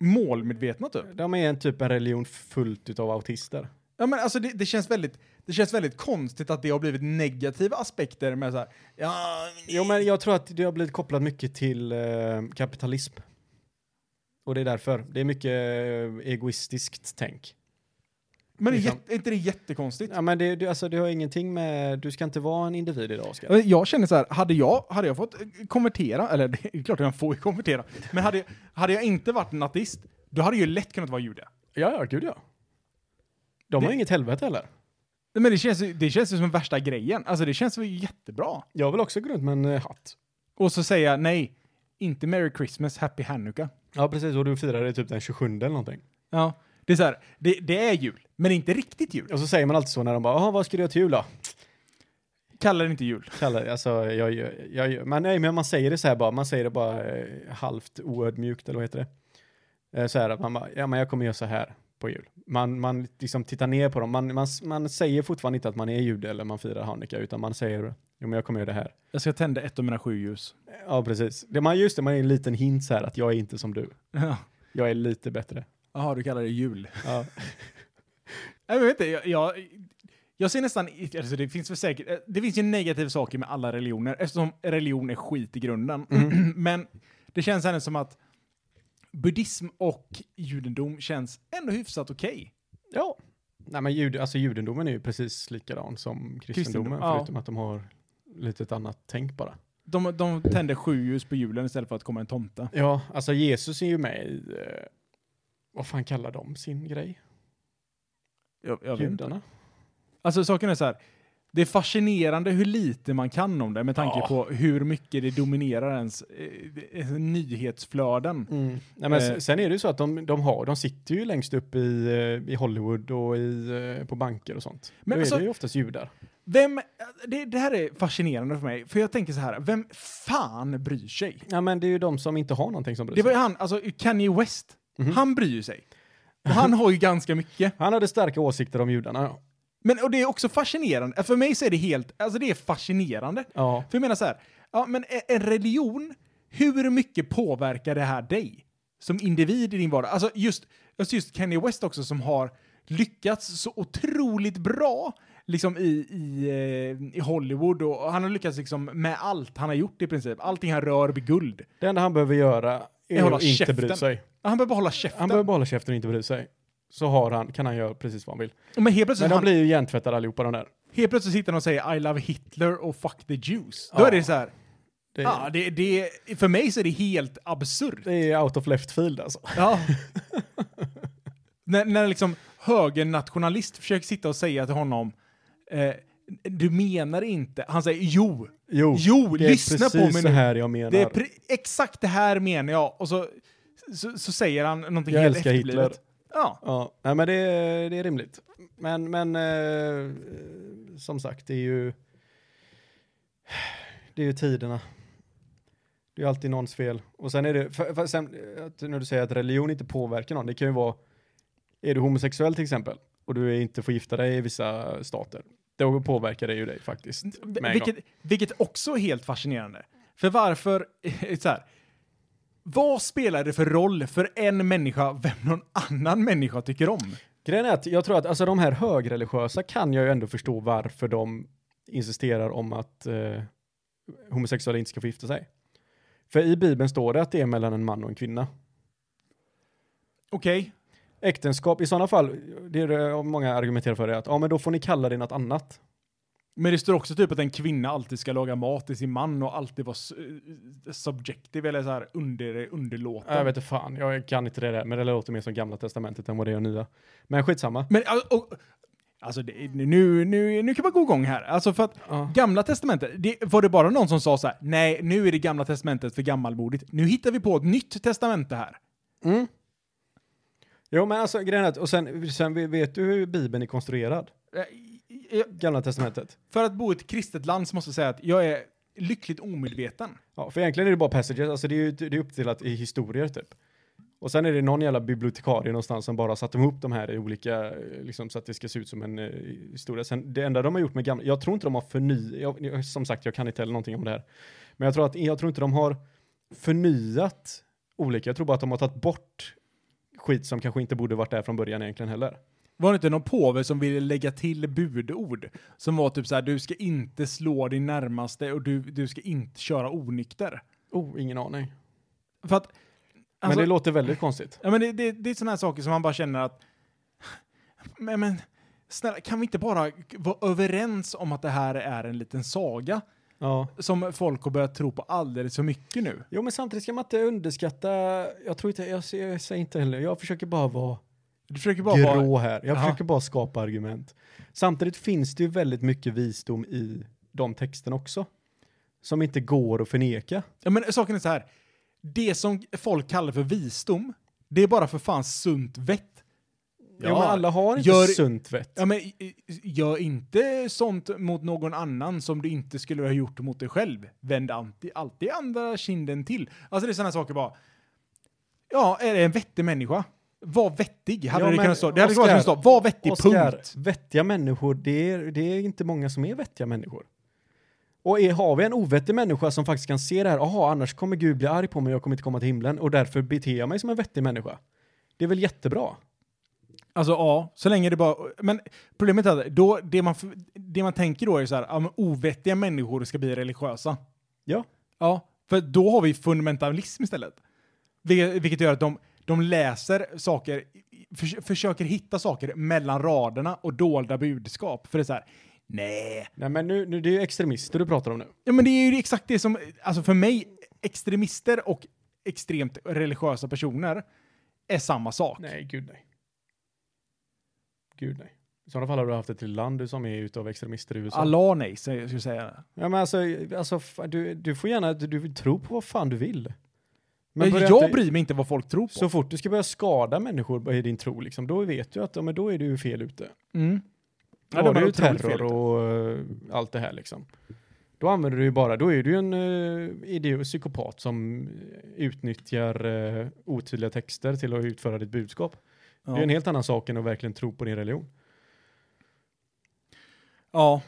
Speaker 4: Målmedvetna typ.
Speaker 2: De är en typ en religion fullt utav autister.
Speaker 4: Ja, men alltså det, det, känns väldigt, det känns väldigt konstigt att det har blivit negativa aspekter med så här, ja,
Speaker 2: Jo, men jag tror att det har blivit kopplat mycket till eh, kapitalism. Och det är därför. Det är mycket eh, egoistiskt tänk.
Speaker 4: men det är,
Speaker 2: liksom-
Speaker 4: jätte, är inte det jättekonstigt?
Speaker 2: Ja, men det, det, alltså, det har ingenting med... Du ska inte vara en individ idag, Oskar.
Speaker 4: Jag- Jag känner så här, hade jag, hade jag fått eh, konvertera, eller det är klart jag får ju konvertera, men hade, jag- hade jag inte varit en ateist, då hade jag ju lätt kunnat vara jude.
Speaker 2: Ja, ja, gud ja. De har
Speaker 4: Det-
Speaker 2: inget helvete heller.
Speaker 4: Nej, Men det känns, ju- det känns ju som den värsta grejen, alltså det känns ju jättebra.
Speaker 2: Jag vill också gå runt med en eh, hatt.
Speaker 4: Och så säga nej, inte Merry Christmas, Happy Hanukka.
Speaker 2: Ja, precis. Och du firar det typ den 27 eller någonting.
Speaker 4: Ja. Det är så här, det, det är jul, men inte riktigt jul.
Speaker 2: Och så säger man alltid så när de bara, "Jaha, vad ska du göra till jul då?
Speaker 4: Kallar det inte jul.
Speaker 2: Kallar, alltså, jag, jag, jag, man, nej, men man säger det så här bara, man säger det bara eh, halvt oödmjukt, eller vad heter det? Eh, så här att man bara, ja men jag kommer göra så här på jul. Man, man liksom tittar ner på dem, man, man, man säger fortfarande inte att man är jude eller man firar Hanukka, utan man säger, jo men jag kommer göra det här.
Speaker 4: Jag ska tända ett av mina sju ljus.
Speaker 2: Ja, precis. Det, man, just det, man är en liten hint så här att jag är inte som du.
Speaker 4: Ja.
Speaker 2: Jag är lite bättre.
Speaker 4: Jaha, du kallar det jul.
Speaker 2: Ja,
Speaker 4: Jag vet inte, jag, jag, jag ser nästan, alltså det finns väl säkert, det finns ju negativa saker med alla religioner, eftersom religion är skit i grunden. men det känns ändå som att buddhism och judendom känns ändå hyfsat okej.
Speaker 2: ja. Nej men jud, alltså, judendomen är ju precis likadan som kristendomen,
Speaker 4: Kristendom, ja.
Speaker 2: förutom att de har lite ett annat tänk bara.
Speaker 4: De, de tänder sju ljus på julen istället för att komma en tomte.
Speaker 2: Ja, alltså Jesus är ju med i, eh, vad fan kallar de sin grej?
Speaker 4: Jag, jag vet inte.
Speaker 2: Judarna?
Speaker 4: Alltså saken är så här. Det är fascinerande hur lite man kan om det med tanke
Speaker 2: Ja.
Speaker 4: på hur mycket det dominerar ens eh, eh, nyhetsflöden.
Speaker 2: Mm. Nej, men
Speaker 4: Eh.
Speaker 2: s- sen är det ju så att de, de har, de sitter ju längst upp i, eh, i Hollywood och i, eh, på banker och sånt.
Speaker 4: Men
Speaker 2: Men Då
Speaker 4: alltså-
Speaker 2: är det ju oftast judar.
Speaker 4: Vem, det, det här är fascinerande för mig, för jag tänker så här, vem fan bryr sig?
Speaker 2: Ja, men det är ju de som inte har någonting som bryr
Speaker 4: Det var
Speaker 2: sig.
Speaker 4: ju han, alltså Kanye West, han bryr ju sig. Och han har ju ganska mycket.
Speaker 2: Han hade starka åsikter om judarna, ja.
Speaker 4: Men och det är också fascinerande, för mig så är det helt, alltså det är fascinerande.
Speaker 2: Ja.
Speaker 4: För jag menar så här, ja men e- en religion, hur mycket påverkar det här dig? Som individ i din vardag? Alltså just, alltså just Kanye West också som har lyckats så otroligt bra liksom i, i, eh, i Hollywood och och han har lyckats liksom med allt han har gjort i princip. Allting han rör blir guld.
Speaker 2: Det enda han behöver göra är
Speaker 4: hålla
Speaker 2: att inte bry
Speaker 4: käften.
Speaker 2: sig.
Speaker 4: Ja, han behöver bara hålla käften.
Speaker 2: Han behöver bara hålla käften och inte bry sig. Så har han, kan han göra precis vad han vill.
Speaker 4: Men helt plötsligt,
Speaker 2: Men de
Speaker 4: han,
Speaker 2: blir ju hjärntvättade allihopa de där.
Speaker 4: helt plötsligt sitter han och säger I love Hitler och fuck the Jews. Då
Speaker 2: Ja.
Speaker 4: är det så här.
Speaker 2: Det är,
Speaker 4: Ja, det, det, för mig så är det helt absurt.
Speaker 2: det är out of left field alltså.
Speaker 4: Ja. när, när liksom högernationalist försöker sitta och säga till honom eh, du menar inte, han säger jo,
Speaker 2: Jo,
Speaker 4: jo,
Speaker 2: det är
Speaker 4: lyssna på
Speaker 2: precis
Speaker 4: mig
Speaker 2: det
Speaker 4: nu.
Speaker 2: här jag menar.
Speaker 4: Det är pre- exakt det här menar jag. Och så, så, så säger han någonting
Speaker 2: Jag
Speaker 4: helt
Speaker 2: älskar Hitler.
Speaker 4: efterblivet. Ja.
Speaker 2: Ja, nej, men det, är- det är rimligt. Men, men eh, som sagt, det är ju det är ju tiderna. Det är ju alltid någons fel. Och sen är det, för, för, sen, eh, att när du säger att religion inte påverkar någon, det kan ju vara, är du homosexuell till exempel och du är inte får gifta dig i vissa stater, då påverkar det ju dig faktiskt. med en
Speaker 4: Vilket, vilket också är helt fascinerande. För varför, så här, vad spelar det för roll för en människa vem någon annan människa tycker om?
Speaker 2: Grejen är att jag tror att alltså, de här högreligiösa kan jag ju ändå förstå varför de insisterar om att eh, homosexuella inte ska få gifta sig. För i Bibeln står det att det är mellan en man och en kvinna.
Speaker 4: Okej,
Speaker 2: Äktenskap, i sådana fall, det är det många argumenterar för det, att ja men då får ni kalla det något annat.
Speaker 4: men det står också typ att en kvinna alltid ska laga mat till sin man och alltid vara su- subjective eller så här under, underlåten.
Speaker 2: Jag vet inte fan, jag kan inte det där, men det låter mer som gamla testamentet än vad det gör nya. Men skitsamma.
Speaker 4: Men al- och, alltså, det, nu, nu, nu kan man gå igång här. Alltså för att
Speaker 2: Ja.
Speaker 4: gamla testamentet, det, var det bara någon som sa så här, nej nu är det gamla testamentet för gammalmodigt, nu hittar vi på ett nytt testamente här.
Speaker 2: Mm. Jo men alltså grejen är att, och sen, sen vet du hur Bibeln är konstruerad?
Speaker 4: Eh,
Speaker 2: Gamla testamentet.
Speaker 4: För att bo i ett kristet land så måste jag säga att jag är lyckligt omedveten.
Speaker 2: Ja, för egentligen är det bara passages, alltså det är ju det är uppdelat i historier typ. Och sen är det någon jävla bibliotekarie någonstans som bara satt ihop de här i olika, eh, liksom så att det ska se ut som en eh, historia. Sen det enda de har gjort med gamla, jag tror inte de har förny, jag, jag- som sagt jag kan inte heller någonting om det här. Men jag tror att, jag tror inte de har förnyat olika, jag tror bara att de har tagit bort skit som kanske inte borde varit där från början egentligen heller.
Speaker 4: Var det inte någon påve som ville lägga till budord? Som var typ så här, du ska inte slå din närmaste och du, du ska inte köra onykter.
Speaker 2: Oh, ingen aning.
Speaker 4: För att...
Speaker 2: Men
Speaker 4: alltså-
Speaker 2: det låter väldigt konstigt.
Speaker 4: Ja, men det, det, det är sådana här saker som man bara känner att... Men, men snälla, kan vi inte bara vara överens om att det här är en liten saga?
Speaker 2: Ja.
Speaker 4: Som folk har börjat tro på alldeles för mycket nu.
Speaker 2: Jo, men samtidigt ska man inte underskatta, jag tror inte, jag, ser- jag säger inte heller, jag försöker bara vara
Speaker 4: Du försöker bara
Speaker 2: grå
Speaker 4: vara...
Speaker 2: här, jag
Speaker 4: Ja.
Speaker 2: försöker bara skapa argument. Samtidigt finns det ju väldigt mycket visdom i de texterna också, som inte går att förneka.
Speaker 4: Ja, men saken är så här. Det som folk kallar för visdom, det är bara för fan sunt vett.
Speaker 2: Ja, men alla har inte
Speaker 4: gör-
Speaker 2: sunt vett.
Speaker 4: Ja, men eh, gör inte sånt mot någon annan som du inte skulle ha gjort mot dig själv. Vänd anti- alltid andra kinden till. Alltså det är sådana saker bara. Ja, är det en vettig människa? Var vettig, hade
Speaker 2: Ja,
Speaker 4: det
Speaker 2: men
Speaker 4: kunnat stå. Det hade kunnat
Speaker 2: Oscar,
Speaker 4: stå. Var vettig,
Speaker 2: Oscar,
Speaker 4: punkt.
Speaker 2: vettiga människor, det är, det är inte många som är vettiga människor. Och är, har vi en ovettig människa som faktiskt kan se det här, jaha, annars kommer Gud bli arg på mig, jag kommer inte komma till himlen och därför beter jag mig som en vettig människa. Det är väl jättebra?
Speaker 4: Alltså ja, så länge det bara... Men problemet är att då, det, man, f- det man tänker då är så här, ja, men ovettiga människor ska bli religiösa.
Speaker 2: Ja.
Speaker 4: Ja, för då har vi fundamentalism istället. Vilket, vilket gör att de, de läser saker, förs- försöker hitta saker mellan raderna och dolda budskap. För det är så här, nej.
Speaker 2: Nej men nu, nu det är ju extremister du pratar om nu.
Speaker 4: Ja men det är ju exakt det som, alltså för mig, extremister och extremt religiösa personer är samma sak.
Speaker 2: Nej, gud nej. Gud nej. I sådana fall har du haft ett till land du som är utav extremister i USA.
Speaker 4: Allah nej, så jag skulle säga.
Speaker 2: Ja, men alltså, alltså f- du, du får gärna, du, du tro på vad fan du vill. Men
Speaker 4: jag
Speaker 2: börja
Speaker 4: jag
Speaker 2: inte-
Speaker 4: bryr mig inte vad folk tror på.
Speaker 2: Så fort du ska börja skada människor i din tro, liksom, då vet du att ja, men då är du ju fel ute.
Speaker 4: Mm.
Speaker 2: Då har
Speaker 4: var
Speaker 2: du ju
Speaker 4: otroligt fel.
Speaker 2: terror och eh, allt det här liksom. Då använder du ju bara, då är du ju en uh, idiot, psykopat som utnyttjar eh, otydliga texter till att utföra ditt budskap.
Speaker 4: Ja.
Speaker 2: Det är en helt annan sak än att verkligen tro på din religion.
Speaker 4: ja.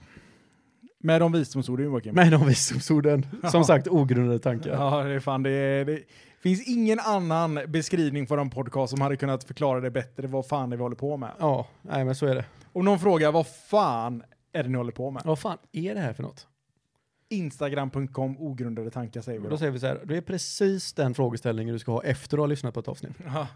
Speaker 4: Med de visdomsorden Joakim.
Speaker 2: Men om visdomsorden, som sagt ogrundade tankar.
Speaker 4: Ja, det är fan det, är- det finns ingen annan beskrivning för en podcast som hade kunnat förklara det bättre vad fan det är vi håller på med.
Speaker 2: Ja, nej men så är det.
Speaker 4: Om någon frågar vad fan är det ni håller på med?
Speaker 2: Vad fan är det här för något?
Speaker 4: Instagram.com ogrundade tankar säger vi
Speaker 2: Då
Speaker 4: då.
Speaker 2: säger vi så här, det är precis den frågeställningen du ska ha efter att ha lyssnat på ett avsnitt.
Speaker 4: Ja.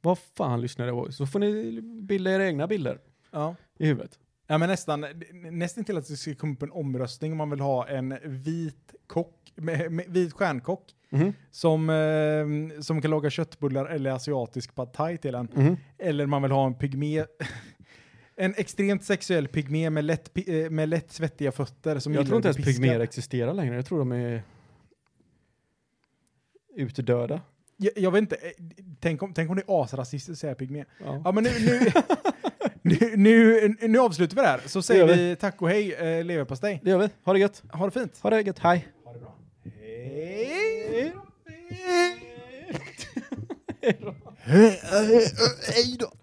Speaker 2: Vad fan lyssnar jag på? Så får ni bilda era egna bilder
Speaker 4: Ja.
Speaker 2: i huvudet.
Speaker 4: ja, men nästan, nästan till att det ska komma upp en omröstning om man vill ha en vit kock, med, med, vit stjärnkock
Speaker 2: Mhm.
Speaker 4: som, eh, som kan laga köttbullar eller asiatisk pad thai till en.
Speaker 2: Mhm.
Speaker 4: Eller man vill ha en pygmé, en extremt sexuell pygmé med lätt, pi- eh, med lätt svettiga fötter som
Speaker 2: Jag
Speaker 4: gillar
Speaker 2: tror inte
Speaker 4: att bli
Speaker 2: ens pygméer
Speaker 4: piskad.
Speaker 2: existerar längre. Jag tror de är utdöda.
Speaker 4: Jag, jag vet inte, eh, tänk om, tänk om det är asrasistiskt att säga pygmé.
Speaker 2: Ja.
Speaker 4: Ja men nu, nu, nu, nu, nu avslutar vi det här, så säger
Speaker 2: gör vi.
Speaker 4: vi tack och hej eh, leverpastej.
Speaker 2: Det gör vi. Ha det gött.
Speaker 4: Ha det fint.
Speaker 2: Ha det gött. Hej.
Speaker 4: Hej!
Speaker 2: Hej då.